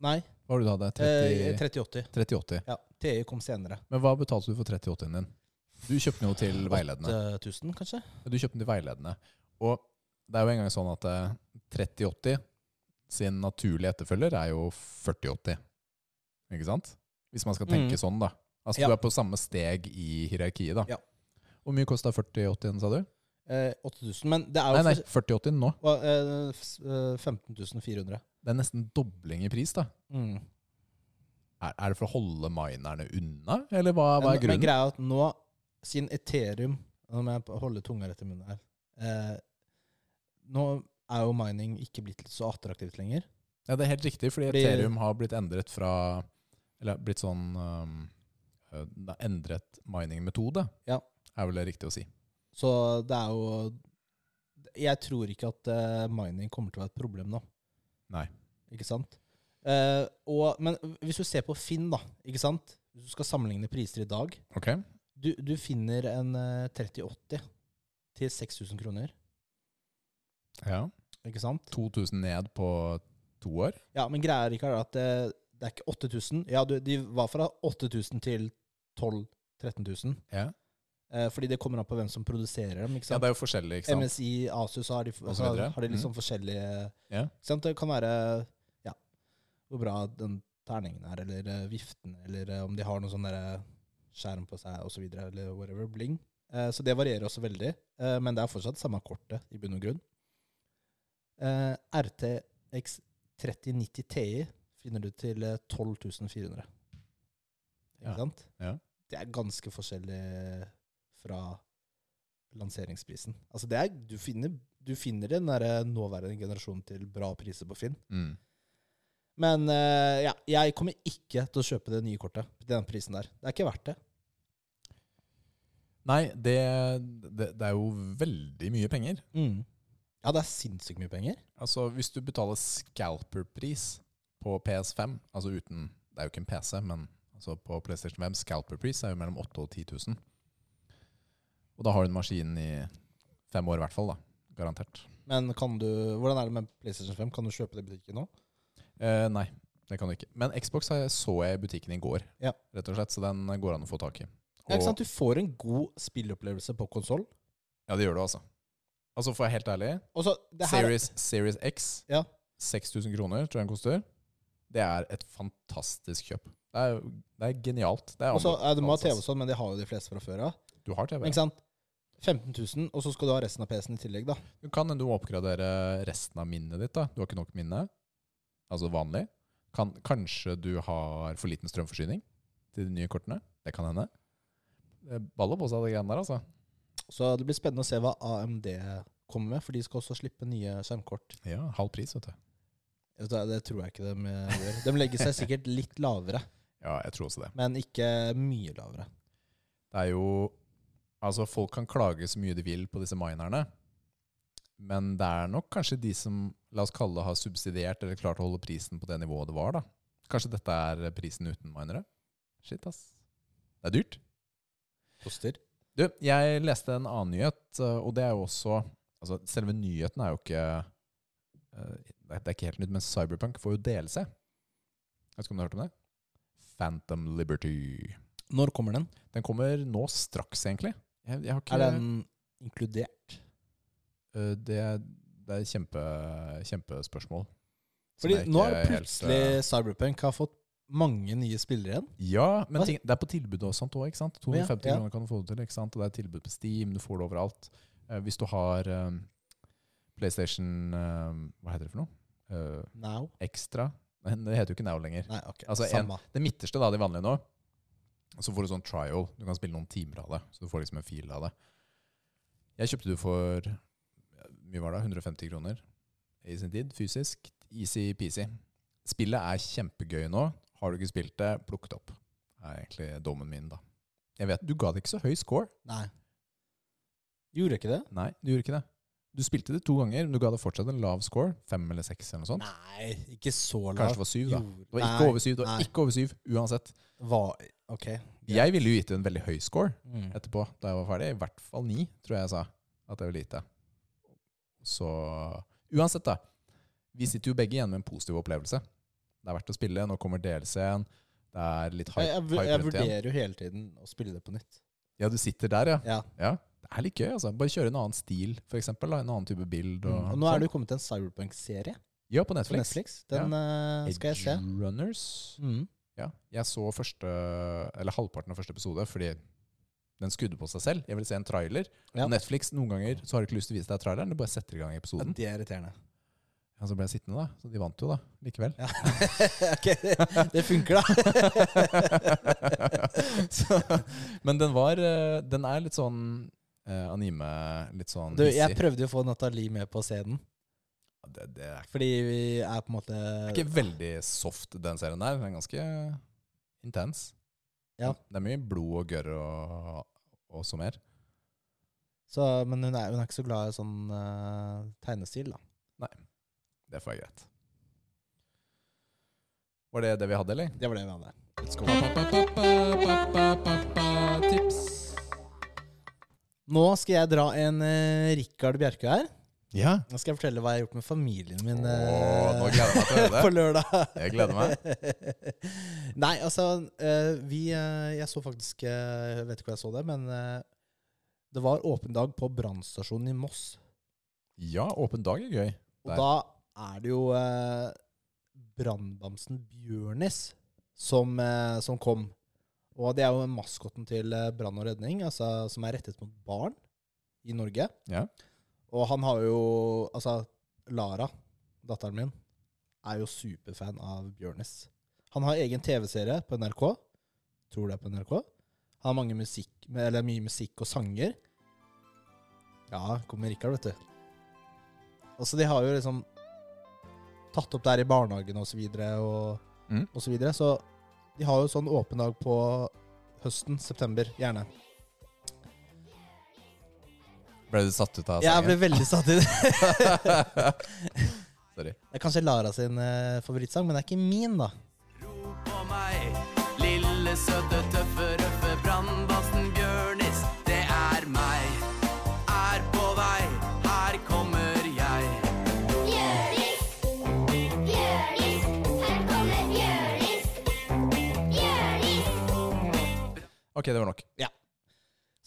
Nei, Hva var det du hadde? 30, eh, 3080. 3080. Ja, TI kom senere. Men hva betalte du for 3080-en din? Du kjøpte den jo til veiledende. 8000, eh, kanskje? Du kjøpte den til veiledende. Og det er jo engang sånn at eh, 3080 sin naturlige etterfølger er jo 4080. Ikke sant? Hvis man skal tenke Mm. sånn, da. Altså Ja. du er på samme steg i hierarkiet, da. Ja. Hvor mye kosta 4080-en, sa du? Eh, 8000, men det er jo Nei, nei, 4080 nå. for- eh, s- eh, 15.400. Det er nesten dobling i pris, da. Mm. Er, er det for å holde minerne unna, eller hva, hva er Men- Men grunnen? greia er at nå, siden Ethereum Nå må jeg holde tunga rett i munnen her. Eh, nå er jo mining ikke blitt så attraktivt lenger. Ja, det er helt riktig, fordi, Fordi- Ethereum har blitt endret fra Eller blitt sånn um, eh, det er Endret miningmetode, Ja. er vel det riktig å si. Så det er jo Jeg tror ikke at eh, mining kommer til å være et problem nå. Nei. Ikke sant? Eh, og, men hvis du ser på Finn, da, ikke sant? Hvis du skal sammenligne priser i dag Ok? Du, du finner en eh, 3080 til 6000 kroner, Ja. ikke sant? 2000 ned på to år. Ja, men greia er Rikard, at det, det er ikke 8000. Ja, du, de var fra 8000 til 12 13 000. Ja. Eh, fordi det kommer an på hvem som produserer dem. ikke ja, sant? det er jo forskjellig, ikke sant? MSI, Asus, har de, Og så har, videre. Mm. har de liksom forskjellige Ja. ikke sant? Det kan være ja, hvor bra den terningen er, eller eh, viften, eller eh, om de har noe sånn derre skjerm på seg osv., eller whatever, bling. Eh, så det varierer også veldig, eh, men det er fortsatt samme kortet i bunn og grunn. Eh, RTX 3090 TI finner du til eh, 12.400. Ikke Ja. sant? Ja. Det er ganske forskjellig fra lanseringsprisen. Altså det er, du, finner, du finner den der eh, nåværende generasjonen til bra priser på Finn. Mm. Men eh, ja, jeg kommer ikke til å kjøpe det nye kortet til den prisen der. Det er ikke verdt det. Nei, det, det, det er jo veldig mye penger. Ja, det er sinnssykt mye penger. Altså, hvis du betaler scalper-pris på PS5, altså uten Det er jo ikke en PC, men altså på PlayStation 5 scalper-pris er jo mellom 8000 og 10 000. Og da har du en maskin i fem år i hvert fall, da. Garantert. Men kan du, hvordan er det med PlayStation 5? Kan du kjøpe det i butikken nå? Eh, nei, det kan du ikke. Men Xbox har jeg- så jeg i butikken i går, Ja. rett og slett, så den går an å få tak i. Ja, Og- ikke sant? Du får en god spillopplevelse på konsoll. Ja, det gjør du, altså. Altså, for å være helt ærlig, Series, Series X, Ja. 6000 kroner tror jeg den koster. Det er et fantastisk kjøp. Det er, jo- det er genialt. Det er altså. Og så anbe- ja, De må ha anbefales. TV og sånn, men det har jo de fleste fra før av. Du har TV. Ikke sant? 15 000, og så skal du ha resten av PC-en i tillegg, da. Du kan du må oppgradere resten av minnet ditt. da. Du har ikke nok minne, altså vanlig. Kan, kanskje du har for liten strømforsyning til de nye kortene. Det kan hende. Det baller på seg, de greiene der, altså. Så det blir spennende å se hva AMD kommer med, for de skal også slippe nye skjermkort. Ja, Halv pris, vet du. Vet du hva, Det tror jeg ikke de eh, gjør. De legger seg sikkert litt lavere, Ja, jeg tror også det. men ikke mye lavere. Det er jo Altså, folk kan klage så mye de vil på disse minerne, men det er nok kanskje de som, la oss kalle det, har subsidiert eller klart å holde prisen på det nivået det var, da. Kanskje dette er prisen uten minere? Shit, ass. Det er dyrt. Koster. Du, jeg leste en annen nyhet, eh, og det er jo også altså Selve nyheten er jo ikke eh, Det er ikke helt nytt, men Cyberpunk får jo DLC. Jeg vet ikke om du har hørt om det? Phantom Liberty. Når kommer den? Den kommer nå straks, egentlig. Jeg, jeg har ikke, Er den inkludert? Eh, det, det er et kjempe, kjempespørsmål. som Fordi jeg nå ikke har helt, plutselig eh, Cyberpunk har fått mange nye spillere igjen. Ja, men Hva? ting, det er på tilbud og sånt òg, ikke sant? ja, 250 ja. kroner kan du få det til, ikke sant? Og det er tilbud på Steam, du får det overalt. Eh, hvis du har eh, PlayStation eh, Hva heter det for noe? Eh, Now? Extra? Nei, det heter jo ikke Now lenger. Nei, ok. Altså, en- Samme. Det midterste, da, de vanlige nå. Så får du sånn trial. Du kan spille noen timer av det. Så du får liksom en fil av det. Jeg kjøpte det for ja, mye var det, 150 kroner i sin tid, fysisk. Easy-peasy. Spillet er kjempegøy nå. Har du ikke spilt det, plukk det opp. Det er egentlig dommen min, da. Jeg vet, Du ga det ikke så høy score. Nei. Gjorde ikke det? Nei, du gjorde ikke det. Du spilte det to ganger, men du ga det fortsatt en lav score. Fem eller seks eller noe sånt. Nei, ikke så lavt. Kanskje det var syv, da. Det var ikke over syv, det var ikke over syv, uansett. Var, ok. greit. Jeg ville jo gitt det en veldig høy score. Mm. etterpå, da jeg var ferdig. I hvert fall ni, tror jeg jeg sa. At det var lite. Så uansett, da. Vi sitter jo begge igjen med en positiv opplevelse. Det er verdt å spille. Nå kommer DLC-en. Det er litt hype, Jeg, jeg, vu- hype jeg rundt igjen. vurderer jo hele tiden å spille det på nytt. Ja, du sitter der, ja. Ja. Det er litt gøy, altså. Bare kjøre en annen stil, for eksempel. Da. En annen type bild. Og, Mm. Og nå er det jo kommet en Cyberpunk-serie Ja, på på Netflix. Netflix. Den eh, skal jeg se. Edge Runners. Mm. Ja. Jeg så første, eller halvparten av første episode fordi den skudde på seg selv. Jeg ville se en trailer. Ja. På Netflix noen ganger så har du ikke lyst til å vise deg traileren, du bare setter i gang Ja, episoden. det er irriterende. Ja, så ble jeg sittende, da. Så de vant jo, da. Likevel. Ja. ok, det, det funker, da. så, men den var eh, Den er litt sånn eh, anime Litt sånn Du, jeg hissig. prøvde jo å få Nathalie med på scenen, Ja, det, det er fordi vi er på en måte ikke veldig soft, den serien der. Den er ganske intens. Ja. Det er mye blod og gørr og, og så mer. så, Men hun er, hun er ikke så glad i sånn eh, tegnestil, da. Det får være greit. Var det det vi hadde, eller? Det var det vi hadde. Let's go. Tips. Nå skal jeg dra en eh, Rikard Bjerke her. Ja. Nå skal jeg fortelle hva jeg har gjort med familien min Åh, nå eh, gleder jeg meg til å høre på det. lørdag. Jeg gleder meg. Nei, altså eh, Vi eh, Jeg så faktisk eh, Jeg vet ikke hvor jeg så det, men eh, det var åpen dag på brannstasjonen i Moss. Ja, åpen dag er gøy. Og Der. da er det jo eh, brannbamsen Bjørnis som, eh, som kom. Og det er jo maskotten til eh, brann og redning, altså, som er rettet mot barn i Norge. Ja. Og han har jo Altså, Lara, datteren min, er jo superfan av Bjørnis. Han har egen TV-serie på NRK. Tror det er på NRK. Han har mange musikk, eller mye musikk og sanger. Ja, kommer Rikard, vet du. Altså, de har jo liksom tatt opp der i barnehagen og så videre, og, Mm. og så videre. Så de har jo sånn åpen dag på høsten, september, gjerne. Ble du satt ut av Jeg ble sangen? veldig satt i det. Sorry. Det er kanskje Lara sin eh, favorittsang, men det er ikke min, da. Rop på meg, lille søte tøffe røffe brannbassen Bjørnis. Det er meg, er på vei, her kommer jeg. Bjørnis, Bjørnis, her kommer Bjørnis. Bjørnis. Ok, det var nok.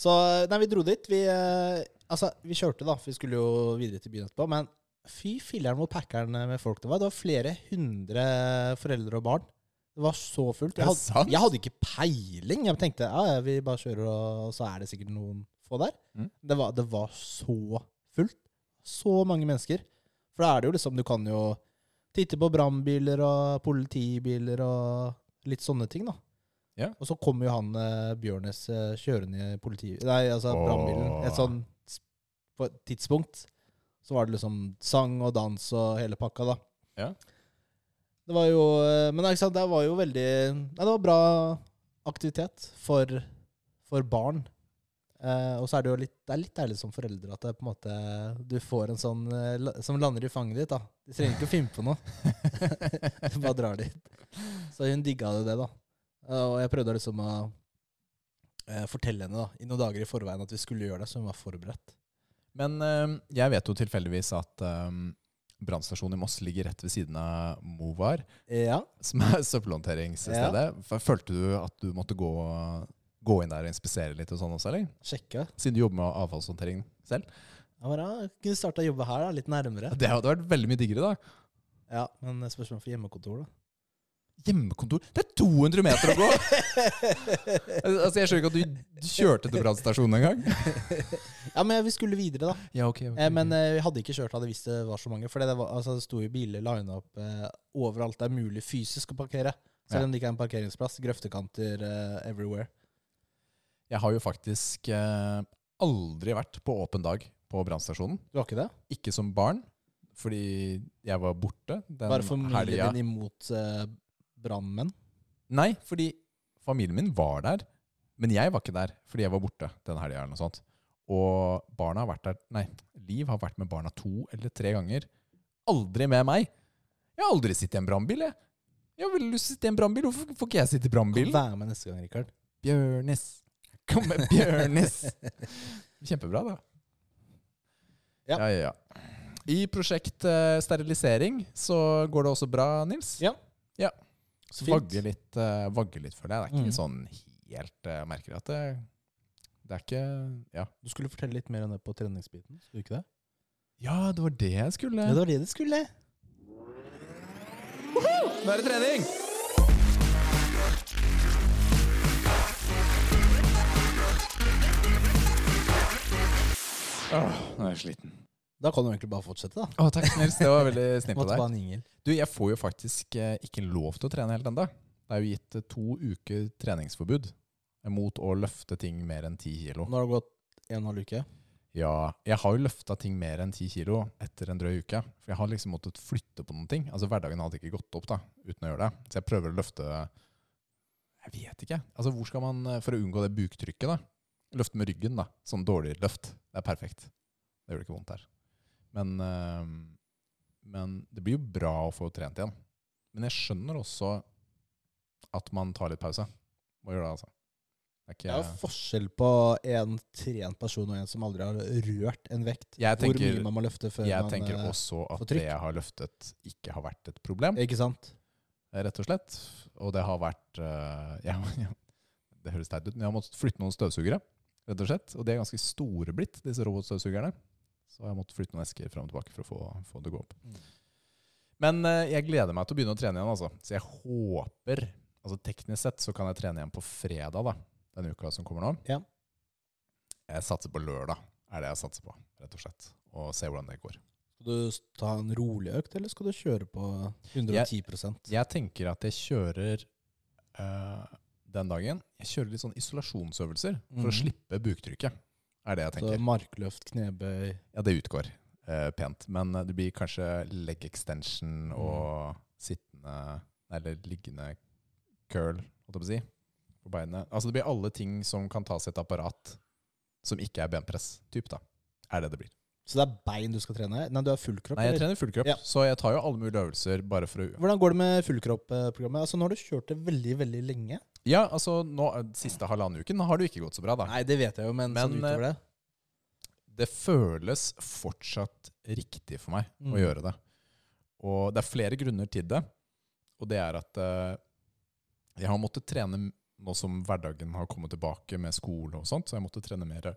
Så nei, vi dro dit. Vi, eh, altså, vi kjørte, da. for Vi skulle jo videre til byen etterpå. Men eh, fy filleren hvor packeren med folk det var. Det var flere hundre foreldre og barn. Det Det var så fullt. Er det Jeg hadde, sant? jeg hadde ikke peiling. Jeg tenkte ja, ja, vi bare kjører, og så er det sikkert noen få der. Mm. Det, var, det var så fullt. Så mange mennesker. For da er det jo liksom Du kan jo titte på brannbiler og politibiler og litt sånne ting, da. Ja. Og så kommer jo han eh, Bjørnes eh, kjørende i politi... Nei, altså Åh. brannbilen. Et sånn s- på et tidspunkt så var det liksom sang og dans og hele pakka, da. Ja. Det var jo eh, Men det er ikke sant, det var jo veldig Nei, det var bra aktivitet for, for barn. Eh, og så er det jo litt Det er litt deilig som foreldre at det på en måte du får en sånn eh, la- som lander i fanget ditt, da. Du trenger ikke å finne på noe. du bare drar dit. Så hun digga jo det, da. Eh, og jeg prøvde liksom å eh, fortelle henne da, i noen dager i forveien at vi skulle gjøre det, så hun var forberedt. Men eh, jeg vet jo tilfeldigvis at eh, brannstasjonen i Moss ligger rett ved siden av Movar, Ja. som er søppelhåndteringsstedet. F- Følte du at du måtte gå, gå inn der og inspisere litt og sånn også, eller? Sjekke. Siden du jobber med avfallshåndtering selv. Jeg bare, ja, kunne starta å jobbe her, da, litt nærmere. Det hadde vært veldig mye diggere, da. Ja, Men spørsmål for hjemmekontor, da. Hjemmekontor Det er 200 meter å gå! altså, jeg skjønner ikke at du du kjørte til brannstasjonen engang. Ja, men vi skulle videre, da. Ja, ok. ok, Eh, men ok. eh, vi hadde ikke kjørt hadde visst det var så mange. For det, var, altså, det sto jo biler lina opp eh, overalt det er mulig fysisk å parkere. Selv om det ikke er en parkeringsplass. Grøftekanter eh, everywhere. Jeg har jo faktisk eh, aldri vært på åpen dag på brannstasjonen. Du har ikke det? Ikke som barn, fordi jeg var borte den Bare familien helga. din imot eh, brannmenn? Nei, fordi familien min var der, men jeg var ikke der fordi jeg var borte den helga eller noe sånt. Og barna har vært der Nei, Liv har vært med barna to eller tre ganger. Aldri med meg. Jeg har aldri sittet i en brannbil, jeg. Jeg har veldig lyst til å sitte i en brannbil. Hvorfor får ikke jeg sitte i Kan brannbilen? være med neste gang, Rikard. Bjørnis. Kom med Bjørnis. Kjempebra, da. Ja. ja, ja. I prosjekt eh, sterilisering så går det også bra, Nils. Ja. ja. Så Vagge litt, eh, vagge litt for deg. Det er Mm. ikke sånn helt eh, jeg Merker at det, det er ikke ja. Du skulle fortelle litt mer om det på treningsbiten. Skulle du ikke det? ja, det var det jeg skulle. Ja, det var det du skulle. Nå er det trening! Åh, nå er jeg sliten. Da kan du egentlig bare fortsette, da. Å, takk, Nils. Det var veldig snilt av Måtte deg. bare en jingle. Du, jeg får jo faktisk eh, ikke lov til å trene helt ennå. Det er jo gitt eh, to uker treningsforbud mot å løfte ting mer enn 10 kilo. Nå har det gått en og en halv uke. Ja, jeg har jo løfta ting mer enn 10 kilo etter en drøy uke. For jeg har liksom måttet flytte på noen ting. Altså Hverdagen hadde ikke gått opp da, uten å gjøre det. Så jeg prøver å løfte Jeg vet ikke. Altså hvor skal man, eh, For å unngå det buktrykket, da. Løfte med ryggen, da. Sånn dårlig løft. Det er perfekt. Det gjør det ikke vondt her. Men, eh, men det blir jo bra å få trent igjen. Men jeg skjønner også at man tar litt pause. Må gjøre det, altså. Det Det er er ikke, jo forskjell på en trent person og en som aldri har rørt en vekt. Jeg Hvor tenker- mye man må løfte før jeg man tenker eh, også at får trykk. det jeg har løftet, ikke har vært et problem. eh, Ikke sant? rett og slett. Og det har vært eh, ja, ja, Det høres teit ut, men jeg har måttet flytte noen støvsugere. rett og slett. Og de er ganske store blitt, disse robotstøvsugerne. Så jeg måtte flytte noen esker fram og tilbake for å få, få det til å gå opp. Mm. Men eh, jeg gleder meg til å begynne å trene igjen, altså. Så jeg håper altså Teknisk sett så kan jeg trene igjen på fredag, da. Den uka som kommer nå. Ja. Jeg satser på lørdag, er det jeg satser på, rett og slett. Og se hvordan det går. Skal du ta en rolig økt, eller skal du kjøre på 110 Jeg tenker at jeg kjører eh, den dagen Jeg kjører litt sånn isolasjonsøvelser for å Mhm. slippe buktrykket. Er det jeg Så tenker. markløft, knebøy ja, det utgår eh, pent. Men eh, det blir kanskje leg Mhm. extension og sittende Eller liggende curl, holdt jeg på å si, på beinet. Altså det blir alle ting som kan tas i et apparat som ikke er benpress-type, da. Er det det blir. Så det er bein du skal trene? Nei, du har full kropp? Nei, jeg eller? trener full kropp, Ja. så jeg tar jo alle mulige øvelser bare for å Hvordan går det med fullkropp-programmet? Altså, nå har du kjørt det veldig veldig lenge. Ja, altså nå, siste halvannen uken har det jo ikke gått så bra, da. Nei, det vet jeg jo, men, Men, eh, sånn utover det det føles fortsatt riktig for meg Mm. å gjøre det. Og det er flere grunner til det. Og det er at eh, jeg har måttet trene m- nå som hverdagen har kommet tilbake med skole og sånt, så jeg måtte trene mer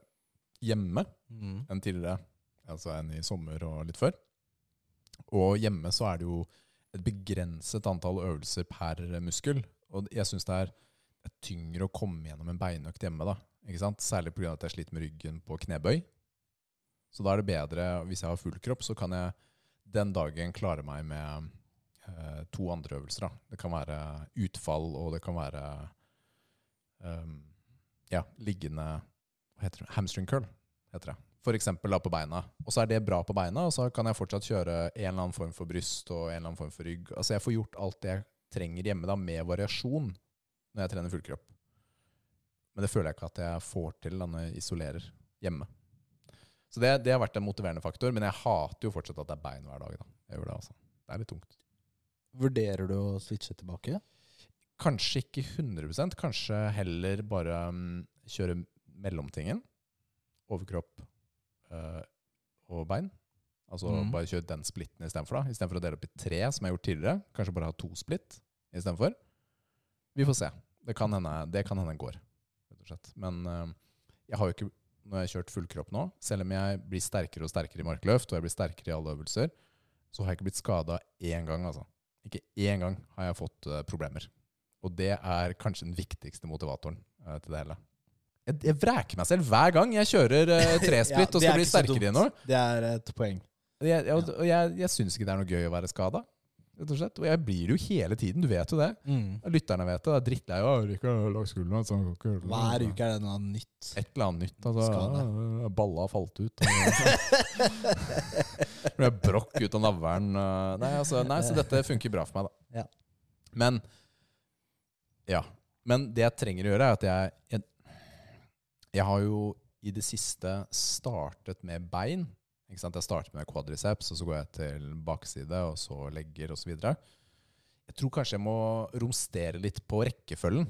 hjemme mm. enn tidligere, altså enn i sommer og litt før. Og hjemme så er det jo et begrenset antall øvelser per muskel. Og jeg syns det er det er tyngre å komme gjennom en beinøkt hjemme. da, ikke sant? Særlig pga. at jeg sliter med ryggen på knebøy. Så da er det bedre, hvis jeg har full kropp, så kan jeg den dagen klare meg med eh, to andre øvelser. da. Det kan være utfall, og det kan være ehm, ja, liggende hva heter det? Hamstring curl, heter det. For eksempel da på beina. Og så er det bra på beina, og så kan jeg fortsatt kjøre en eller annen form for bryst og en eller annen form for rygg. Altså jeg får gjort alt det jeg trenger hjemme da, med variasjon når jeg trener full kropp. Men det føler jeg ikke at jeg får til da, når jeg isolerer hjemme. Så det, det har vært en motiverende faktor, men jeg hater jo fortsatt at det er bein hver dag. da. Jeg gjør Det altså. Det er litt tungt. Vurderer du å switche tilbake? Kanskje ikke 100 kanskje heller bare mm, kjøre mellomtingen. Overkropp eh, og bein. Altså Mm. bare kjøre den splitten istedenfor. da. Istedenfor å dele opp i tre, som jeg har gjort tidligere. Kanskje bare ha to splitt istedenfor. Vi får se. Det kan hende det kan hende går, rett og slett. Men eh, jeg har jo ikke når jeg har kjørt full kropp nå, selv om jeg blir sterkere og sterkere i markløft, og jeg blir sterkere i alle øvelser, så har jeg ikke blitt skada én gang, altså. Ikke én gang har jeg fått eh, problemer. Og det er kanskje den viktigste motivatoren eh, til det hele. Jeg, jeg vræker meg selv hver gang jeg kjører uh, tresplitt og skal bli sterkere i noe. Det er et poeng. Jeg, jeg, og jeg, jeg syns ikke det er noe gøy å være skada, rett og slett. Og jeg blir det jo hele tiden, du vet jo det. Lytterne vet det. Det er drittlei av å ikke ha sånn, lagt skuldrene. så jeg kan ikke gjøre det». Hver uke er det noe nytt. Et eller annet nytt. Altså, Skade. ja, Balla har falt ut. Det Ble brokk ut av navlen. eh, Nei, altså, nei, så dette funker bra for meg, da. Ja. Men Ja. Men det jeg trenger å gjøre, er at jeg Jeg, jeg har jo i det siste startet med bein. Ikke sant? Jeg starter med quadriceps, og så går jeg til bakside, og så legger, og så videre. Jeg tror kanskje jeg må romstere litt på rekkefølgen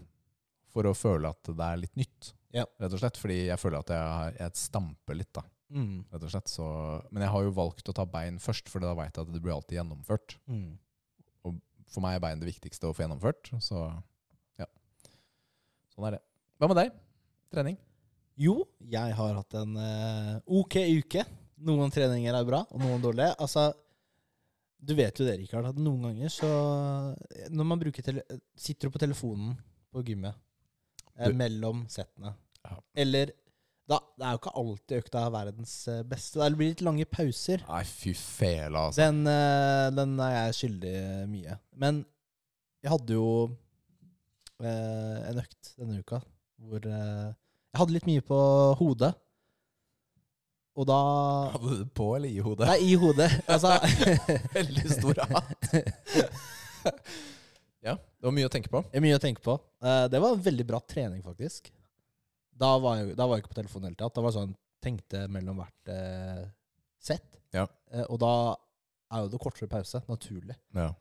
for å føle at det er litt nytt rett og slett. Fordi jeg føler at jeg, har- jeg stamper litt, da. Mm. rett og slett. Så, men jeg har jo valgt å ta bein først, for da veit jeg at det blir alltid gjennomført. Mm. For meg er bein det viktigste å få gjennomført. Så ja. Sånn er det. Hva med deg? Trening? Jo, jeg har hatt en eh, ok uke. Noen treninger er bra, og noen dårlige. Altså, du vet jo det, Rikard, at noen ganger så eh, Når man bruker tele sitter du på telefonen på gymmet eh, Du- mellom settene, Ja. eller da, Det er jo ikke alltid økta er verdens eh, beste. Det blir litt lange pauser. Nei, fy fela, altså. Den, eh, den er jeg skyldig eh, mye. Men jeg hadde jo eh, en økt denne uka hvor eh, jeg hadde litt mye på hodet. Og da Hadde du det på eller i hodet? Nei, i hodet. Altså Veldig stor hatt. ja, det var mye å tenke på. Det er mye å tenke på. Eh, det var en veldig bra trening, faktisk. Da var jeg, da var jeg ikke på telefonen i det hele tatt. Da var jeg sånn tenkte mellom hvert eh, sett. Ja. Eh, og da er jo det kortere pause, naturlig. Ja.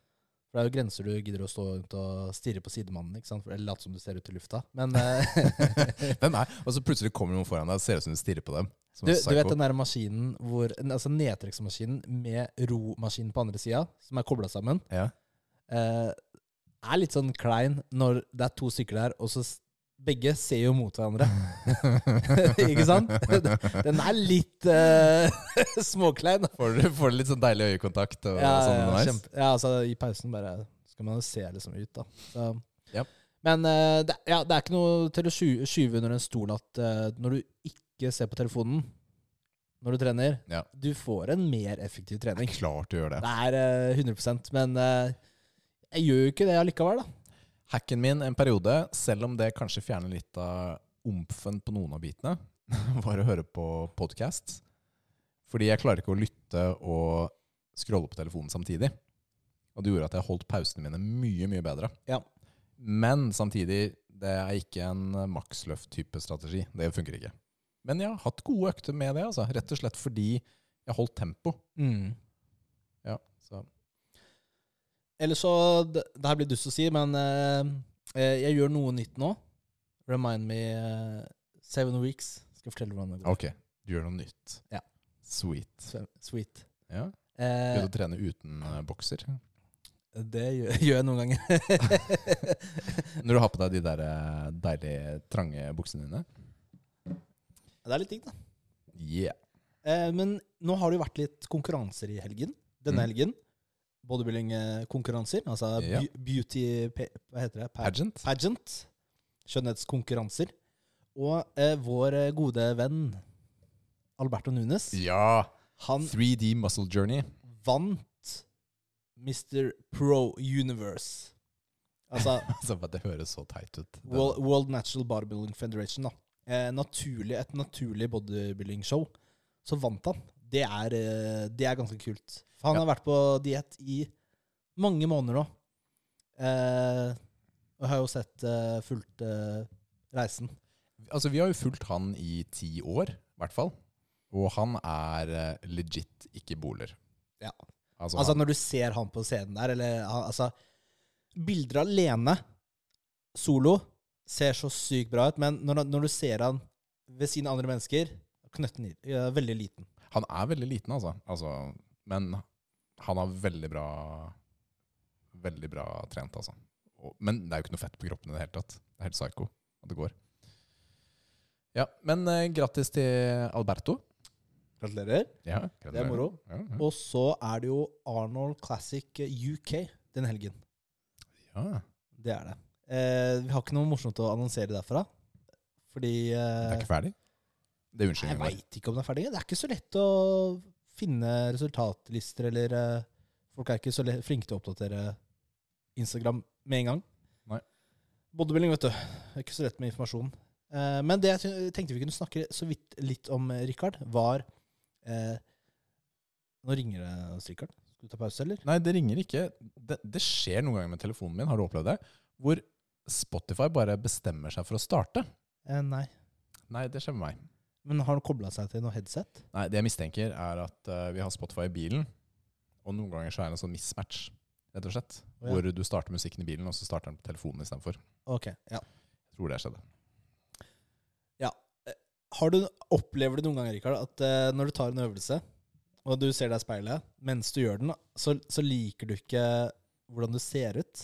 For det er jo grenser du gidder å stå rundt og stirre på sidemannen, ikke sant? For- eller late som du ser ut i lufta. Men eh, Hvem er Og så plutselig kommer noen foran deg og ser ut som du stirrer på dem. Som du, du en vet psycho. den der maskinen hvor Altså nedtrekksmaskinen med romaskinen på andre sida, som er kobla sammen, Ja. eh, er litt sånn klein når det er to stykker der, og så s- begge ser jo mot hverandre. ikke sant? Den er litt eh, småklein. Får du får du litt sånn deilig øyekontakt? Og, Ja, sånn ja, underveis? kjempe, ja, altså i pausen bare skal man jo se liksom ut, da. Så, Ja. Men eh, det, ja, det er ikke noe til å sky- skyve under en stol at eh, når du ikke ser på telefonen når du trener, Ja. du får en mer effektiv Det trening. er klart du gjør det. Det er eh, 100 men eh, jeg gjør jo ikke det allikevel, da. Hacken min en periode, selv om det kanskje fjerner litt av omfen på noen av bitene, var å høre på podkast. Fordi jeg klarer ikke å lytte og scrolle på telefonen samtidig. Og det gjorde at jeg holdt pausene mine mye, mye bedre. Ja. Men samtidig, det er ikke en maksløft-type strategi. Det funker ikke. Men jeg har hatt gode økter med det, altså. Rett og slett fordi jeg holdt tempo. Mm. Ja, så. Eller så Det, det her blir dust å si, men eh, eh, jeg gjør noe nytt nå. Remind me eh, seven weeks. Skal jeg fortelle hvordan det går. Ok, du gjør noe nytt. Ja. Sweet. Se- Sweet. Ja. Eh, Begynner å trene uten eh, bokser. Det gjør, gjør jeg noen ganger. Når du har på deg de der eh, deilige, trange buksene dine. det er litt digg, da. Yeah. Eh, men nå har det jo vært litt konkurranser i helgen. Denne Mm. helgen. bodybuilding-konkurranser. Altså Ja. beau- beauty pe- Hva heter det? Pa- Pageant. Pageant. Skjønnhetskonkurranser. Og eh, vår eh, gode venn Alberto Nunes, Ja. han 3D Muscle Journey. vant Mr. Pro Universe. Altså Altså, det høres så teit ut. Det- World, World Natural Bodybuilding Federation, da. Eh, naturlig, et naturlig bodybuilding-show. Så vant han. Det er, eh, det er ganske kult. For han Ja. har vært på diett i mange måneder nå. Eh, og har jo sett eh, fulgt eh, reisen. Altså, vi har jo fulgt han i ti år, i hvert fall. Og han er eh, legit ikke boler. Ja. Altså, Altså, han, når du ser han på scenen der, eller han- altså Bilder alene, solo, ser så sykt bra ut, men når, han- når du ser han ved siden av andre mennesker, knøtten i, eh, veldig liten. han er veldig liten, altså. altså. Men han har veldig bra Veldig bra trent, altså. Og, men det er jo ikke noe fett på kroppen i det hele tatt. Det er helt psycho at det går. Ja, men eh, grattis til Alberto. Gratulerer. Ja, Det er moro. Ja, ja. Og så er det jo Arnold Classic UK den helgen. ja. Det er det. Eh, vi har ikke noe morsomt å annonsere derfra. Fordi Det eh, er ikke ferdig? Det er Jeg unnskyldningen vår. veit ikke om det er ferdig. Det er ikke så lett å finne resultatlister, eller eh, Folk er ikke så le- flinke til å oppdatere Instagram med en gang. Nei. Bodybuilding, vet du. Det er ikke så lett med informasjon. Eh, men det jeg ty- tenkte vi kunne snakke så vidt litt om, eh, Rikard, var eh, Nå ringer det hos Rikard. Skal du ta pause, eller? Nei, det ringer ikke. Det, det skjer noen ganger med telefonen min, har du opplevd det? Hvor Spotify bare bestemmer seg for å starte. Eh, nei. Nei, det skjer med meg. Men har han kobla seg til noe headset? Nei, Det jeg mistenker, er at eh, vi har Spotify i bilen, og noen ganger så er det en sånn mismatch, rett og slett. Å, ja. Hvor du starter musikken i bilen, og så starter den på telefonen istedenfor. Ok, ja. Tror det skjedde. har du, opplever du noen ganger, Rikard, at eh, når du tar en øvelse, og du ser deg i speilet, mens du gjør den, så, så liker du ikke hvordan du ser ut?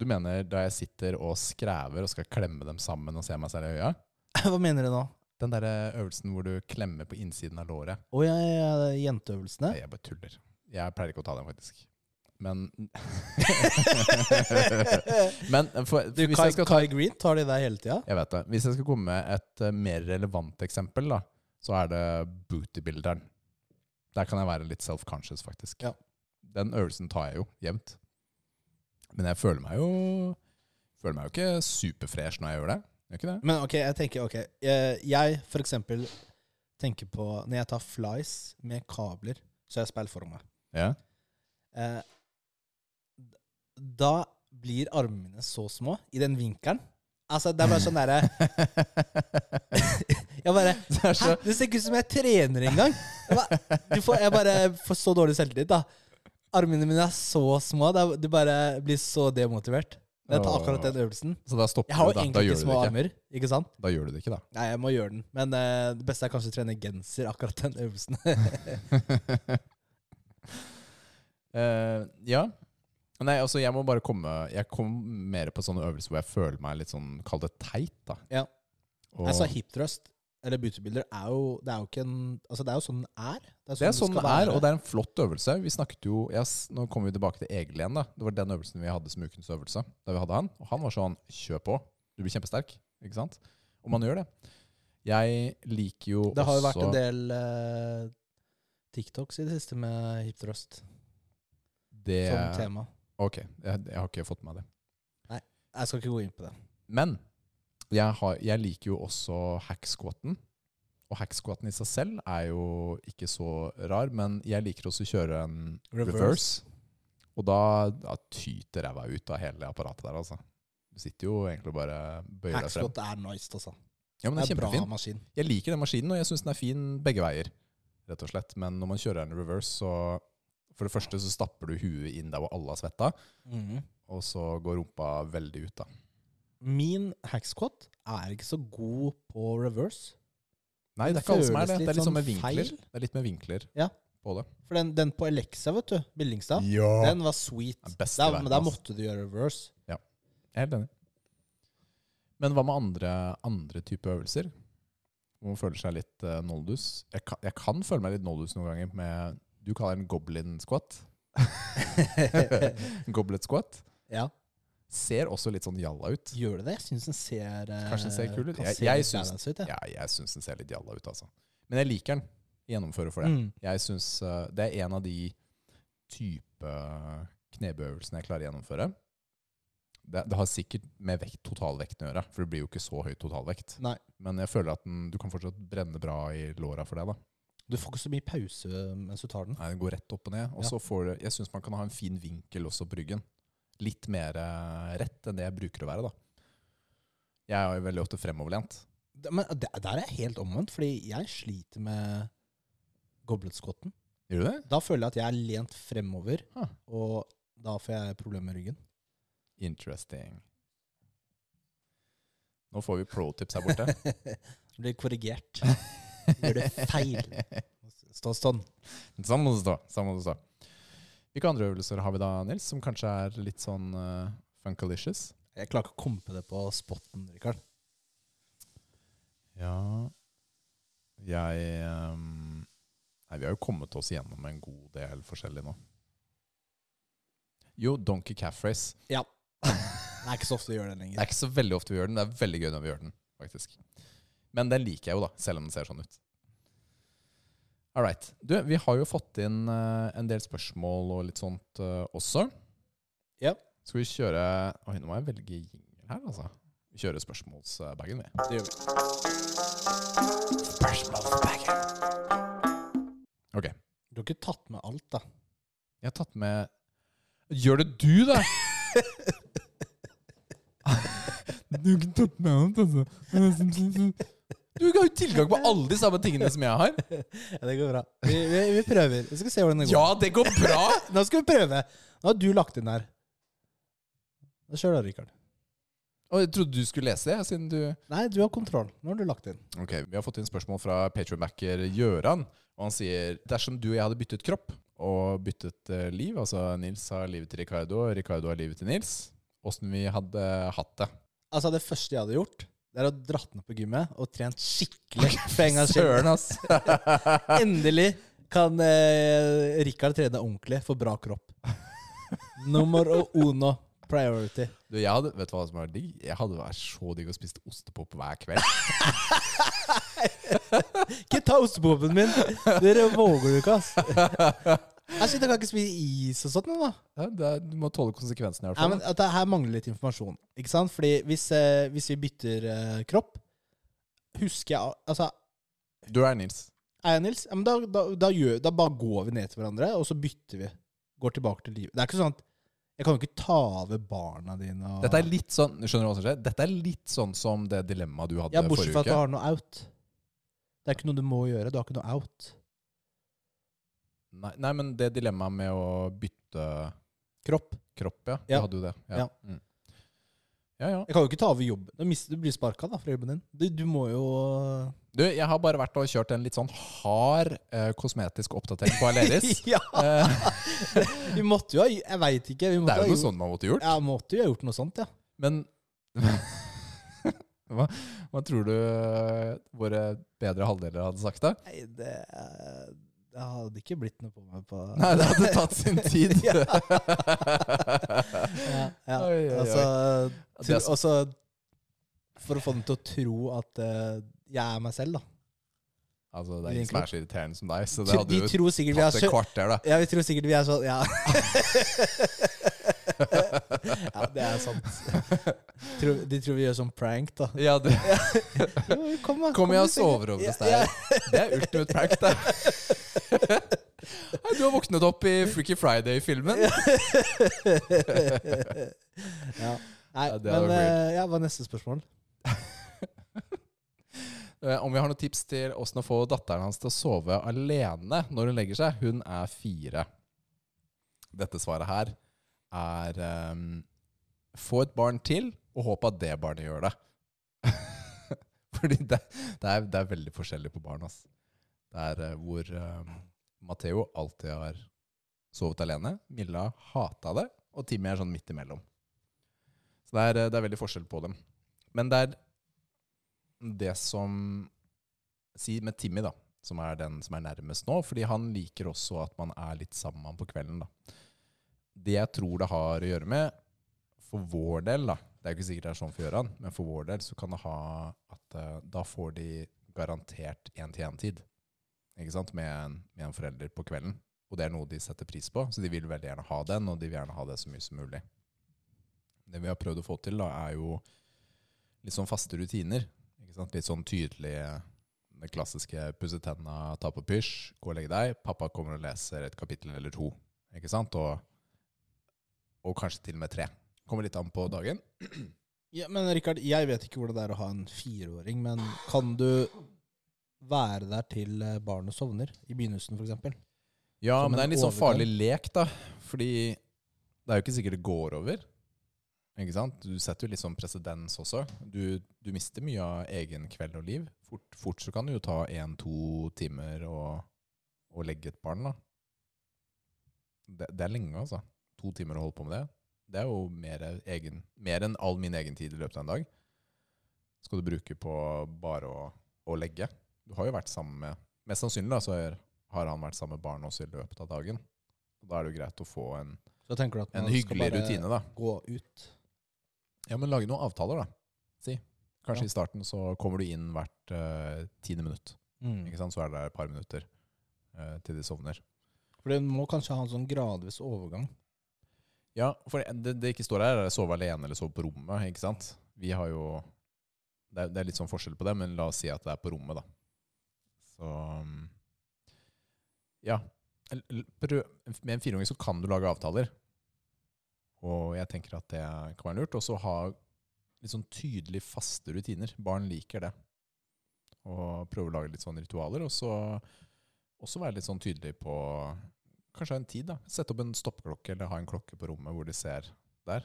Du mener da jeg sitter og skrever og skal klemme dem sammen og se meg selv i øya? Hva mener du nå? Den derre øvelsen hvor du klemmer på innsiden av låret. Å ja, ja, ja, jenteøvelsene. Nei, jeg bare tuller. Jeg pleier ikke å ta den, faktisk. Men Men eh, for, for hvis Kai, jeg skal ta Kai Green tar de der hele tida. Jeg vet det. Hvis jeg skal komme med et eh, mer relevant eksempel, da, så er det bootybuilderen. Der kan jeg være litt self-conscious, faktisk. Ja. Den øvelsen tar jeg jo jevnt. Men jeg føler meg jo Føler meg jo ikke superfresh når jeg gjør det. Gjør ikke det? Men ok, jeg tenker ok. eh, Jeg for eksempel tenker på Når jeg tar flies med kabler, så har jeg speil foran meg. Ja. Eh, da blir armene mine så små i den vinkelen. Altså, det er bare sånn derre Jeg bare Det Hæ? er så Det ser ikke ut som jeg trener engang. Jeg bare, du får, jeg bare får så dårlig selvtillit, da. Armene mine er så små. det er- Du bare blir så demotivert. Jeg tar akkurat den øvelsen. Så da Jeg stopper har du, jo da. Da egentlig gjør ikke du det små ikke. armer, ikke sant? Da gjør du det ikke, da. Nei, jeg må gjøre den. Men eh, det beste er kanskje å trene genser akkurat den øvelsen. Eh, ja. Nei, altså jeg må bare komme Jeg kom mer på sånne øvelser hvor jeg føler meg litt sånn Kall det teit, da. Ja. Og, Altså, hip thrust eller beautybuilder er jo Det er jo ikke en Altså, det er jo sånn den er. det er sånn skal det er, være. og det er en flott øvelse. Vi snakket jo jeg, s- Nå kommer vi tilbake til Egil igjen, da. Det var den øvelsen vi hadde som ukens øvelse. Da vi hadde han. Og han var sånn Kjør på. Du blir kjempesterk. Ikke sant? Og man gjør det. Jeg liker jo Det har jo også vært en del eh, TikToks i det siste med hip thrust det som tema. Ok, jeg, jeg har ikke fått med meg det. Jeg skal ikke gå inn på det. Men jeg, har, jeg liker jo også hacksquaten. Og hacksquaten i seg selv er jo ikke så rar, men jeg liker også å kjøre en reverse. Og da, da tyter ræva ut av hele apparatet der, altså. Du sitter jo egentlig og bare bøyer deg frem. Hackslot er nice, altså. Ja, men Det det er er bra kjempefin. maskin. Jeg liker den maskinen, og jeg syns den er fin begge veier, rett og slett. Men når man kjører en reverse, så For det første så stapper du huet inn der hvor alle har svetta, Mhm. og så går rumpa veldig ut, da. Min hacksquat er ikke så god på reverse. Nei, Men det det er ikke alle som er føles det. Det litt er litt sånn sånn med vinkler. feil. Det er litt med vinkler Ja. på det. For den, den på Alexa, vet du, Billingstad, Ja. den var sweet. Den Der, beste i verden, altså. men der ass. måtte du gjøre reverse. Jeg er helt enig. Men hva med andre, andre typer øvelser? Hvor man føler seg litt eh, noldus. Jeg kan, jeg kan føle meg litt noldus noen ganger med Du kaller den goblin squat. Goblet squat. Ja. Ser også litt sånn jalla ut. Gjør det det? Jeg syns den ser eh, Kanskje den ser kul ut? kan Jeg- se jeg litt syns- badass ut, ja. Ja, jeg syns den ser litt jalla ut, altså. Men jeg liker den. Gjennomfører for det. Mm. Jeg synes, eh, Det er en av de type eh, knebøvelsene jeg klarer å gjennomføre. Det, det har sikkert med vekt, totalvekten å gjøre, for det blir jo ikke så høy totalvekt. Nei. Men jeg føler at den, du kan fortsatt brenne bra i låra for det. da. Du får ikke så mye pause mens du tar den. Nei, Den går rett opp og ned. Og Ja. så får du, jeg syns man kan ha en fin vinkel også på ryggen. Litt mer eh, rett enn det jeg bruker å være. da. Jeg er jo veldig ofte fremoverlent. Det- Men det- der er jeg helt omvendt, fordi jeg sliter med gobletskotten. Gjør du det? Da føler jeg at jeg er lent fremover, Ah. og da får jeg problemer med ryggen. Interesting. Nå får vi pro-tips her borte. Blir korrigert. Gjør du feil. Stå sånn. Sånn må det stå. Sånn må det stå. Hvilke andre øvelser har vi da, Nils, som kanskje er litt sånn uh, funkalicious? Jeg klarer ikke å komme på det på spotten, Rikard. Ja Jeg ehm, Nei, vi har jo kommet oss gjennom en god del forskjellig nå. Jo, Donkey Calf Race. Ja. Det er ikke så ofte du gjør det Det er lenger. ikke så veldig ofte vi gjør den. Det er veldig gøy når vi gjør den, faktisk. Men den liker jeg jo, da, selv om den ser sånn ut. All right. Du, vi har jo fått inn eh, en del spørsmål og litt sånt eh, også. Ja. Skal vi kjøre Oi, nå må jeg velge jingle her, altså. Vi kjører spørsmålsbagen, vi. Det gjør vi. Ok. Du har ikke tatt med alt, da. Jeg har tatt med Gjør det du, da? du har ikke tatt med annet, altså. Du har jo tilgang på alle de samme tingene som jeg har. Ja, det går bra. Vi, vi, vi prøver. Vi skal se hvordan det går. Ja, det går bra! Nå skal vi prøve. Nå har du lagt inn her. Kjør da, Rikard. Og jeg trodde du skulle lese det, siden du Nei, du har kontroll. Nå har du lagt inn. Ok, Vi har fått inn spørsmål fra Patreon-backer Gjøran. Og han sier dersom du og jeg hadde byttet kropp og byttet eh, liv, altså Nils har livet til Ricardo, og Ricardo har livet til Nils, åssen vi hadde hatt det. Altså, det første jeg hadde gjort, det er å dratt ned på gymmet og trent skikkelig for en gangs skyld. Søren, ass! Endelig kan eh, Rikard trene ordentlig for bra kropp. Nummer og uno priority. Du, jeg hadde, vet du hva som var digg? Jeg hadde vært så digg å spise ostepop hver kveld. Ikke ta ostepopen min! Dere våger du ikke, ass. Jeg synes jeg kan ikke spise is og sånt nå, da. Ja, det er, du må tåle konsekvensene i hvert Nei, fall. men at det her mangler litt informasjon. Ikke sant? Fordi hvis, eh, hvis vi bytter eh, kropp Husker jeg Altså, Du er Nils. er jeg Nils? Ja, men da, da, da, gjør, da bare går vi ned til hverandre, og så bytter vi. Går tilbake til livet. Det er ikke sånn at jeg kan jo ikke ta over barna dine og Dette er litt sånn skjønner du hva som skjer? Dette er litt sånn som det dilemmaet du hadde Ja, bortsett forrige fra at du uke. har noe out. Det er ikke noe du må gjøre. Du har ikke noe out. Nei, nei, men det dilemmaet med å bytte Kropp. kropp, ja. Du Ja. hadde jo det. Ja, Ja. Mm. ja. ja. Jeg kan jo ikke ta over jobben. Da mister, du blir sparka da fra jobben din. Du, du må jo Du, jeg har bare vært og kjørt en litt sånn hard eh, kosmetisk oppdatering på Aleris. Ja! Eh, Vi måtte jo ha Jeg veit ikke. Vi det måtte ha er jo noe gjort- sånt man måtte gjort. Ja, måtte jo ha gjort noe sånt, ja. Men hva, hva tror du eh, våre bedre halvdeler hadde sagt da? Nei, det, eh, det hadde ikke blitt noe på meg på Nei, det hadde tatt sin tid. Ja. ja. ja, ja. Oi, oi, oi. Altså, Det tro, er så- altså For å få dem til å tro at eh, jeg er meg selv, da. Altså, det er ingen som er så irriterende som deg, så det Tro- hadde De jo tror sikkert vi er tatt et så kvarter, da. Ja, vi tror sikkert vi er sånn Ja. ja, det er sant. Tror- De tror vi gjør sånn prank, da. Ja, du, Jo, kom, da. kom jeg du og sikkert. sover over Ja, hos deg. ja. Det er ultimate prank, det. Nei, Du har våknet opp i Freaky Friday-filmen. ja. Nei, Ja, det hadde men vært eh, ja, hva er neste spørsmål? Eh, Om vi har noen tips til åssen å få datteren hans til å sove alene når hun legger seg. Hun er fire. Dette svaret her er ehm, Få et barn til, og håp at det barnet gjør det. Fordi det, det, er, det er veldig forskjellig på barn. ass. Det er eh, hvor um, Matheo alltid har sovet alene. Milla hata det, og Timmy er sånn midt imellom. Så det er, eh, det er veldig forskjell på dem. Men det er det som Si med Timmy, da, som er den som er nærmest nå, fordi han liker også at man er litt sammen på kvelden. da. Det jeg tror det har å gjøre med, for vår del da, det er jo ikke sikkert det er sånn for Gøran, men for vår del så kan det ha at eh, da får de garantert én-til-én-tid ikke sant, med en, med en forelder på kvelden. Og det er noe de setter pris på, så de vil veldig gjerne ha den, og de vil gjerne ha det så mye som mulig. Det vi har prøvd å få til, da, er jo litt sånn faste rutiner. Ikke sant? Litt sånn tydelig det klassiske pusse tenna, ta på pysj, gå og legge deg. Pappa kommer og leser et kapittel eller to. Ikke sant? Og, og kanskje til og med tre. Kommer litt an på dagen. Ja, men Rikard, jeg vet ikke hvordan det er å ha en fireåring, men kan du være der til eh, barnet sovner? I begynnelsen, for eksempel. Ja, Som men det er en en litt sånn overgang. farlig lek, da. Fordi det er jo ikke sikkert det går over. Ikke sant? Du setter jo litt sånn presedens også. Du, du mister mye av egen kveld og liv. Fort, fort så kan det jo ta én-to timer å, å legge et barn, da. Det, det er lenge, altså. To timer å holde på med det. Det er jo mer, egen, mer enn all min egen tid i løpet av en dag. Skal du bruke på bare å, å legge. Du har jo vært sammen med Mest sannsynlig da, så har har han vært sammen med barn også i løpet av dagen. Og da er det jo greit å få en, Så jeg tenker du at man en hyggelig skal bare rutine, da. gå ut. eh, Ja, men lage noen avtaler, da. Si. Kanskje Ja. i starten så kommer du inn hvert eh, tiende minutt. Ikke sant? Så er det et par minutter eh, til de sovner. For det må kanskje ha en sånn gradvis overgang. Ja, for det, det ikke står her, er sove alene eller sove på rommet, ikke sant? Vi har jo det er, det er litt sånn forskjell på det, men la oss si at det er på rommet, da. Så um, Ja. L- l- Prøv, med en fireåring så kan du lage avtaler. Og jeg tenker at det kan være lurt. Og så ha litt sånn tydelig faste rutiner. Barn liker det. Og prøve å lage litt sånne ritualer. Og så også være litt sånn tydelig på Kanskje ha en tid, da. Sette opp en stoppeklokke, eller ha en klokke på rommet hvor de ser der.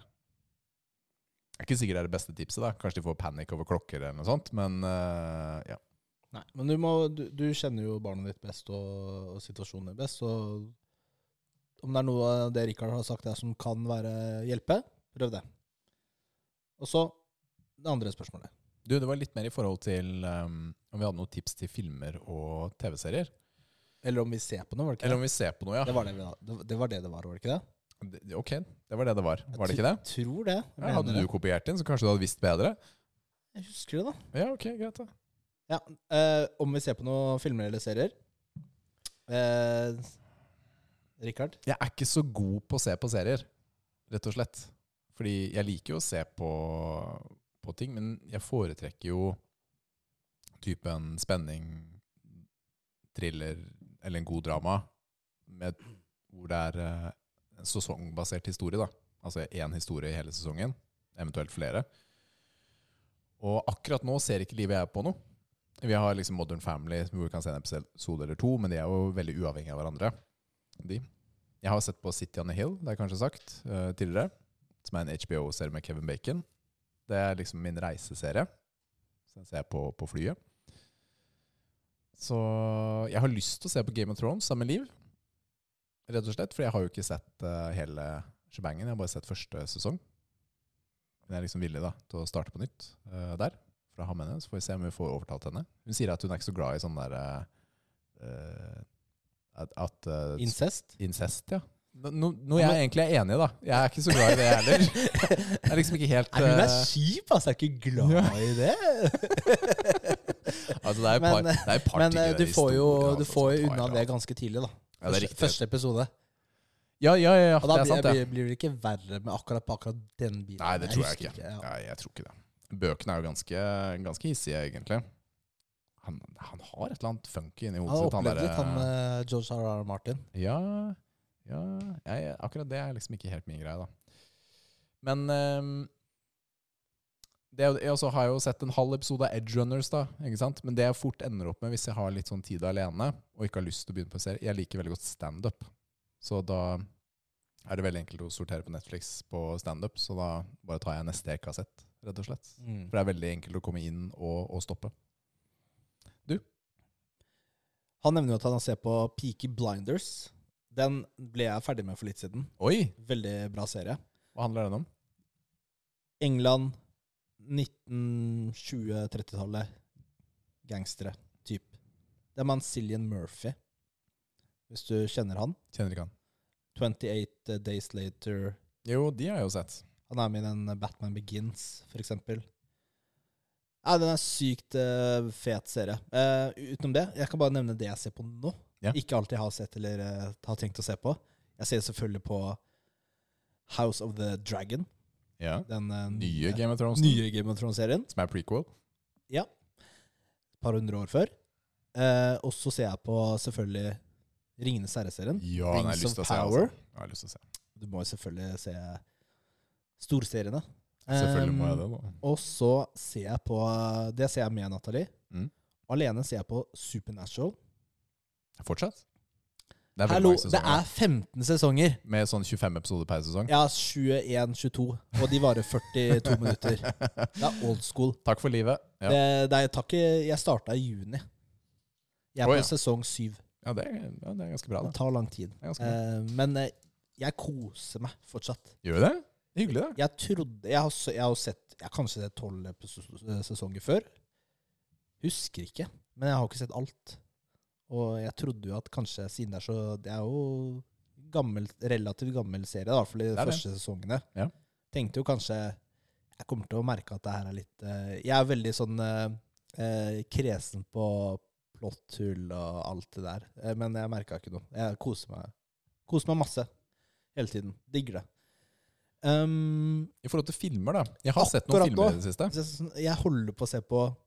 Det er ikke sikkert det er det beste tipset, da. Kanskje de får panikk over klokker eller noe sånt, men eh, ja. Nei, men du, må, du, du kjenner jo barnet ditt best, og, og situasjonen din best, så om det er noe av det Rikard har sagt der som kan være hjelpe, prøv det. Og så det andre spørsmålet. Du, det var litt mer i forhold til eh, om vi hadde noen tips til filmer og TV-serier. Eller om vi ser på noe, var det ikke Eller om vi ser på noe, ja. det? Det var det, vi, da- det, var det det var, var det ikke det? Det- Ok, det var det det var. Var det ikke det? Jeg tror det. Jeg Ja, hadde mener du det. kopiert inn, så kanskje du hadde visst bedre? Jeg husker det, da. Ja, ok, greit da. Ja, eh, om vi ser på noen filmer eller serier. Eh, Rikard? Jeg er ikke så god på å se på serier, rett og slett. Fordi jeg liker jo å se på, på ting, men jeg foretrekker jo typen spenning, thriller eller en god drama, med, hvor det er eh, en sesongbasert historie. da. Altså én historie i hele sesongen, eventuelt flere. Og akkurat nå ser ikke livet jeg på noe. Vi har liksom Modern Family, hvor vi kan se en episode eller to, men de er jo veldig uavhengige av hverandre. De. Jeg har sett på City on a Hill, det har jeg kanskje sagt eh, tidligere. Som er en HBO-serie med Kevin Bacon. Det er liksom min reiseserie. Så den ser jeg på på flyet. Så jeg har lyst til å se på Game of Thrones sammen med Liv. Rett og slett, for jeg har jo ikke sett eh, hele shebangen. Jeg har bare sett første sesong. Men jeg er liksom villig da, til å starte på nytt eh, der. For å ha med henne, Så får vi se om vi får overtalt henne. Hun sier at hun er ikke så glad i sånn der eh, eh, at, at eh, Incest? Incest, ja. No, no- noe jeg egentlig er enig i, da. Jeg er ikke så glad i det heller. Jeg er liksom ikke helt Nei, hun er eh, kjip, altså. Jeg er ikke glad i det. Altså, det er et par, Men, eh, det er et par Men ting i eh, den du får jo, historien, du altså, får som jo tar unna deg det av. ganske tidlig, da. Ja, det er Første- riktig. Første episode. Ja, ja, ja, ja. Og da Det er sant, det. blir, blir det ikke verre med akkurat, på akkurat den bilen. Nei, det tror jeg husker ikke. ja. Nei, jeg tror ikke det. Bøkene er jo ganske, ganske hissige, egentlig. Han, han har et eller annet funky inni Han har hodet sitt. Han opplevd derre- litt, han eh, George R.R. Martin. Ja, ja jeg, akkurat det er liksom ikke helt min greie, da. Men ehm, det, er jo- jeg også har jeg jo sett en halv episode av Edge Runners, da. ikke sant? Men det jeg fort ender opp med hvis jeg har litt sånn tid alene og ikke har lyst til å begynne på en serie Jeg liker veldig godt standup. Så da er det veldig enkelt å sortere på Netflix på standup. Så da bare tar jeg neste kassett, rett og slett. For det er veldig enkelt å komme inn og, og stoppe. Han nevner jo at han ser på Peaky Blinders. Den ble jeg ferdig med for litt siden. Oi! Veldig bra serie. Hva handler den om? England, 1920-30-tallet. Gangstere. Typ. Det er med han Cillian Murphy, hvis du kjenner han. Kjenner ikke han. 28 Days Later. Jo, de har jeg jo sett. Han er med i den Batman Begins, for eksempel. Ja, den er sykt eh, fet serie. Eh, utenom det, jeg kan bare nevne det jeg ser på nå. Ja. Ikke alt jeg har sett eller eh, har tenkt å se på. Jeg ser selvfølgelig på House of the Dragon. Ja. Den eh, Nye Game of Thrones. nye Game of Thrones-serien. Som er prequel. Et par hundre år før. Eh, og så ser jeg på selvfølgelig Ringenes herre-serien. Ja, den har jeg Rings lyst of til å se. Altså. Power. Jeg har lyst til å se. Du må jo selvfølgelig se storseriene. Selvfølgelig må jeg Eh, det, da. Og så ser jeg på Det ser jeg med Nathalie. Mm. Alene ser jeg på Supernatural. Fortsatt? Det er veldig Hallo, mange det sesonger. er 15 sesonger! Med sånn 25 episoder per sesong. Ja, 21-22, og de varer 42 minutter. Det er old school. Takk for livet. Ja, Det, det er, takk, jeg starta i juni. Jeg er Å, på ja. sesong syv. ja, det, er, ja det er ganske bra, Det det. tar lang tid. det er ganske bra. Eh, men eh, jeg koser meg fortsatt. Gjør vi det? Det er Hyggelig, det. Jeg trodde Jeg har, s- jeg har jo sett Jeg har kanskje sett tolv sesonger før. Husker ikke. Men jeg har ikke sett alt. Og jeg trodde jo at kanskje siden det er så Det er jo gammel, relativt gammel serie, da, i hvert fall i de Det er det. første sesongene. Ja. Tenkte jo kanskje Jeg kommer til å merke at det her er litt eh, Jeg er veldig sånn eh, eh, kresen på plotthull og alt det der. Eh, Men jeg merka ikke noe. Jeg koser meg, koser meg masse hele tiden. Digger det. Um, I forhold til filmer, da. Jeg har sett noen Akkurat nå. filmer i det siste. så jeg sånn- jeg holder på å se på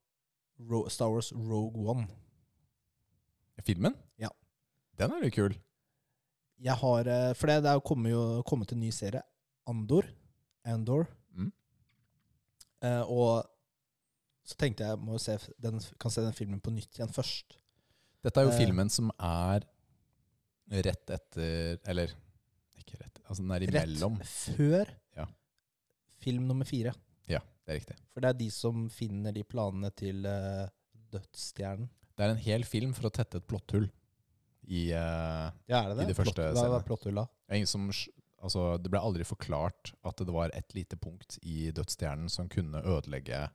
Ro- Star Wars Rogue One. Filmen? Ja. Den er litt kul. Jeg har, eh, for det, det er jo kommet, jo, kommet en ny serie, Andor. Andor. Mm. Eh, og så tenkte jeg må jo se f- den, kan se den filmen på nytt igjen først. Dette er jo Eh. filmen som er rett etter Eller ikke rett Altså den er imellom. Rett før Ja. film nummer fire. Ja, det er riktig. For det er de som finner de planene til eh, Dødsstjernen. Det er en hel film for å tette et plotthull i eh, Ja, er det I det? de første Plott- Hva scenene. er plotthulla? Det er Ingen som, sk- altså, det ble aldri forklart at det var et lite punkt i dødsstjernen som kunne ødelegge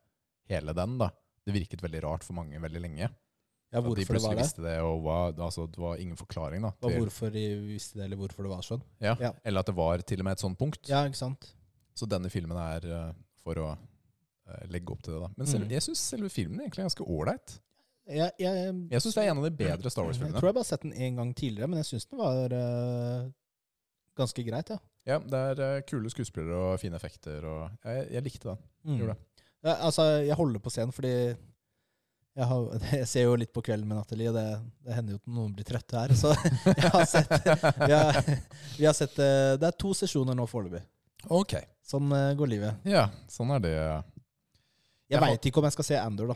hele den. da. Det virket veldig rart for mange veldig lenge. Ja, At de hvorfor det plutselig var det? visste det, og hva, altså, det var ingen forklaring. da. Og til- hvorfor de visste det, eller hvorfor det var sånn. ja. ja. Eller at det var til og med et sånt punkt. Ja, ikke sant? Så denne filmen er eh, for å eh, legge opp til det. da. Men selv, Mm. jeg syns selve filmen er egentlig er ganske ålreit. Jeg, jeg, Jeg syns det er en av de bedre Star Jeg Wars-filmene. tror jeg bare har sett den én gang tidligere, men jeg syns den var eh, ganske greit, ja. Ja, Det er eh, kule skuespillere og fine effekter. og Jeg, jeg likte den. Gjorde Ja, altså, jeg holder på scenen fordi jeg, har, jeg ser jo litt på kvelden med Nathalie, og det, det hender jo at noen blir trøtte her. Så jeg har sett, vi har, vi har sett eh, Det er to sesjoner nå foreløpig. Ok. Sånn eh, går livet. Ja, sånn er det. Jeg Jeg har- veit ikke om jeg skal se Andor, da.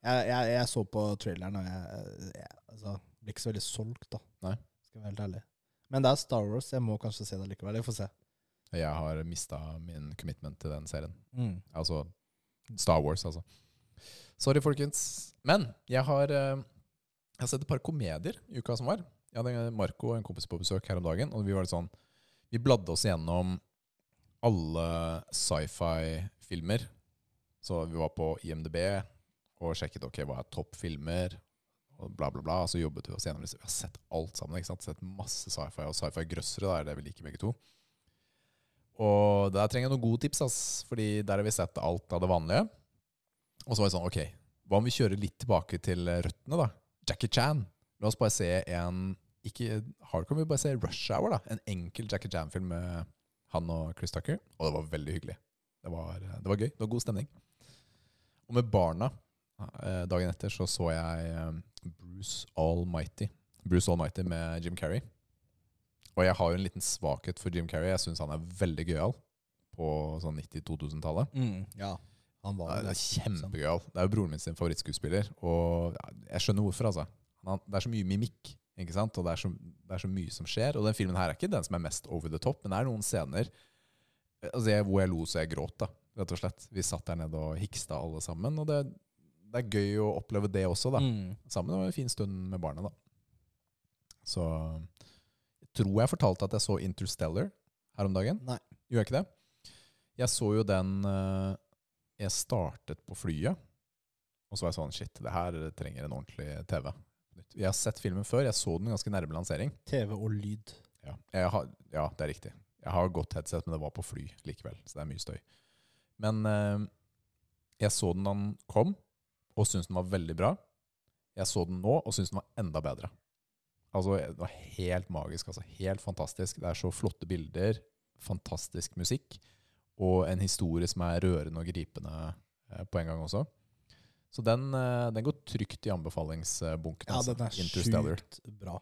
Jeg, jeg, jeg så på traileren, og jeg, jeg altså, ble ikke så veldig solgt, da. Nei. Skal være helt ærlig. Men det er Star Wars, jeg må kanskje se det likevel. Jeg får se. Jeg har mista min commitment til den serien. Mm. Altså Star Wars, altså. Sorry, folkens. Men jeg har, eh, jeg har sett et par komedier i uka som var. Jeg hadde Marco og en kompis på besøk her om dagen, og vi var litt sånn Vi bladde oss gjennom alle sci-fi-filmer. Så vi var på IMDb og sjekket ok, hva er toppfilmer, og bla, bla, bla. Og så jobbet vi oss gjennom disse. Vi har sett alt sammen. ikke sant? Sett masse sci-fi, og sci-fi-grøssere da, er det vi liker begge to. Og der trenger jeg noen gode tips, ass. Fordi der har vi sett alt av det vanlige. Og så var jeg sånn, ok, hva om vi kjører litt tilbake til eh, røttene da? Jackie Chan. La oss bare se en, ikke hardcore, vi bare se Rush Hour da. En enkel Jackie Chan-film med han og Chris Tucker. Og det var veldig hyggelig. Det var, eh, det var gøy, det var god stemning. Og med barna, eh, dagen etter så så jeg eh, Bruce Almighty. Bruce Almighty med Jim Carrey. Og jeg har jo en liten svakhet for Jim Carrey. Jeg syns han er veldig gøyal på sånn 90-2000-tallet. Mm. Ja, han var Han jo sånn- er det. kjempegøyal. Det er jo broren min sin favorittskuespiller, og jeg skjønner hvorfor, altså. Han, det er så mye mimikk, ikke sant? og det er, så, det er så mye som skjer. Og den filmen her er ikke den som er mest over the top, men det er noen scener eh, altså jeg, hvor jeg lo så jeg gråt, da, rett og slett. Vi satt der nede og hiksta alle sammen, og det, det er gøy å oppleve det også, da Mm. sammen. Det var en fin stund med barna, da. Så jeg tror jeg fortalte at jeg så Interstellar her om dagen. Nei. Gjorde jeg ikke det? Jeg så jo den eh, Jeg startet på flyet, Og så var jeg sånn Shit, det her trenger en ordentlig TV. Jeg har sett filmen før. Jeg så den ganske nærme lansering. TV og lyd. Ja, jeg har, ja det er riktig. Jeg har godt headset, men det var på fly likevel, så det er mye støy. Men eh, jeg så den da den kom, og syntes den var veldig bra. Jeg så den nå, og syntes den var enda bedre. Altså, det var helt magisk, altså. Helt fantastisk. Det er så flotte bilder, fantastisk musikk, og en historie som er rørende og gripende eh, på en gang også. Så den, eh, den går trygt i anbefalingsbunken. Ja, altså. den er Interstellar. sjukt bra.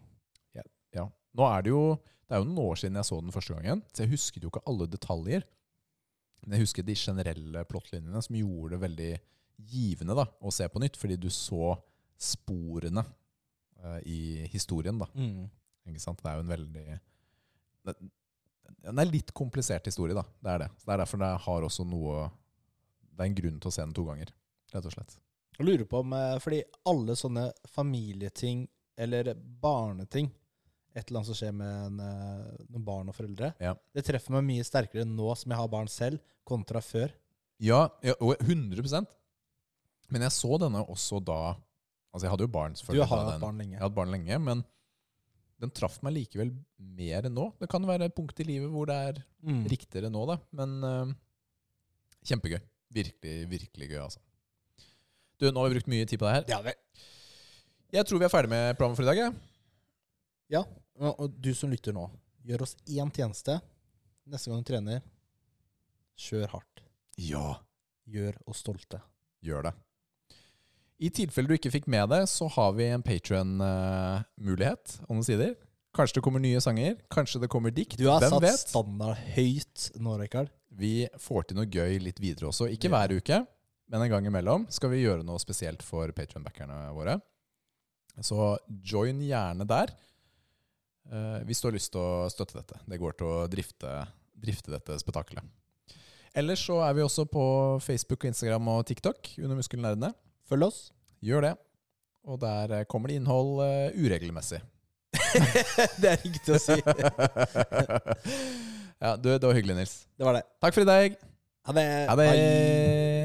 Ja. Nå er det jo Det er jo noen år siden jeg så den første gangen, så jeg husket jo ikke alle detaljer. Men jeg husker de generelle plottlinjene som gjorde det veldig givende da, å se på nytt, fordi du så sporene eh, i historien. da. Mm. Ikke sant? Det er jo en veldig det, Den er litt komplisert historie, da. Det er det. Så det er derfor det har også noe Det er en grunn til å se den to ganger, rett og slett. Jeg lurer på om eh, Fordi alle sånne familieting eller barneting Et eller annet som skjer med en, eh, noen barn og foreldre Ja. Det treffer meg mye sterkere nå som jeg har barn selv, kontra før. Ja, ja og 100 Men jeg så denne også da Altså, jeg hadde jo barn, Du selvfølgelig. har da hatt den- barn lenge. Jeg har hatt barn lenge, men den traff meg likevel mer enn nå. Det kan være et punkt i livet hvor det er Mm. riktigere nå, da. Men eh, kjempegøy. Virkelig, virkelig gøy, altså. Du, nå har vi brukt mye tid på det her. Ja vel. Jeg tror vi er ferdig med planen for i dag. jeg. Ja, og og du som lytter nå, gjør oss én tjeneste. Neste gang du trener, kjør hardt. Ja. Gjør oss stolte. Gjør det. I tilfelle du ikke fikk med det, så har vi en Patrion-mulighet om noen sider. Kanskje det kommer nye sanger, kanskje det kommer dikt. Du har Hvem satt vet? standard høyt nå, Rekard. Vi får til noe gøy litt videre også. Ikke Ja. hver uke, men en gang imellom skal vi gjøre noe spesielt for Patrion-backerne våre. Så join gjerne der eh, hvis du har lyst til å støtte dette. Det går til å drifte, drifte dette spetakkelet. Ellers så er vi også på Facebook, og Instagram og TikTok under Muskelnerdene. Følg oss. Gjør det. Og der eh, kommer det innhold eh, uregelmessig. Det er riktig å si. ja, du, det var hyggelig, Nils. Det var det. Takk for i dag. Ha det. Ha det. Bye.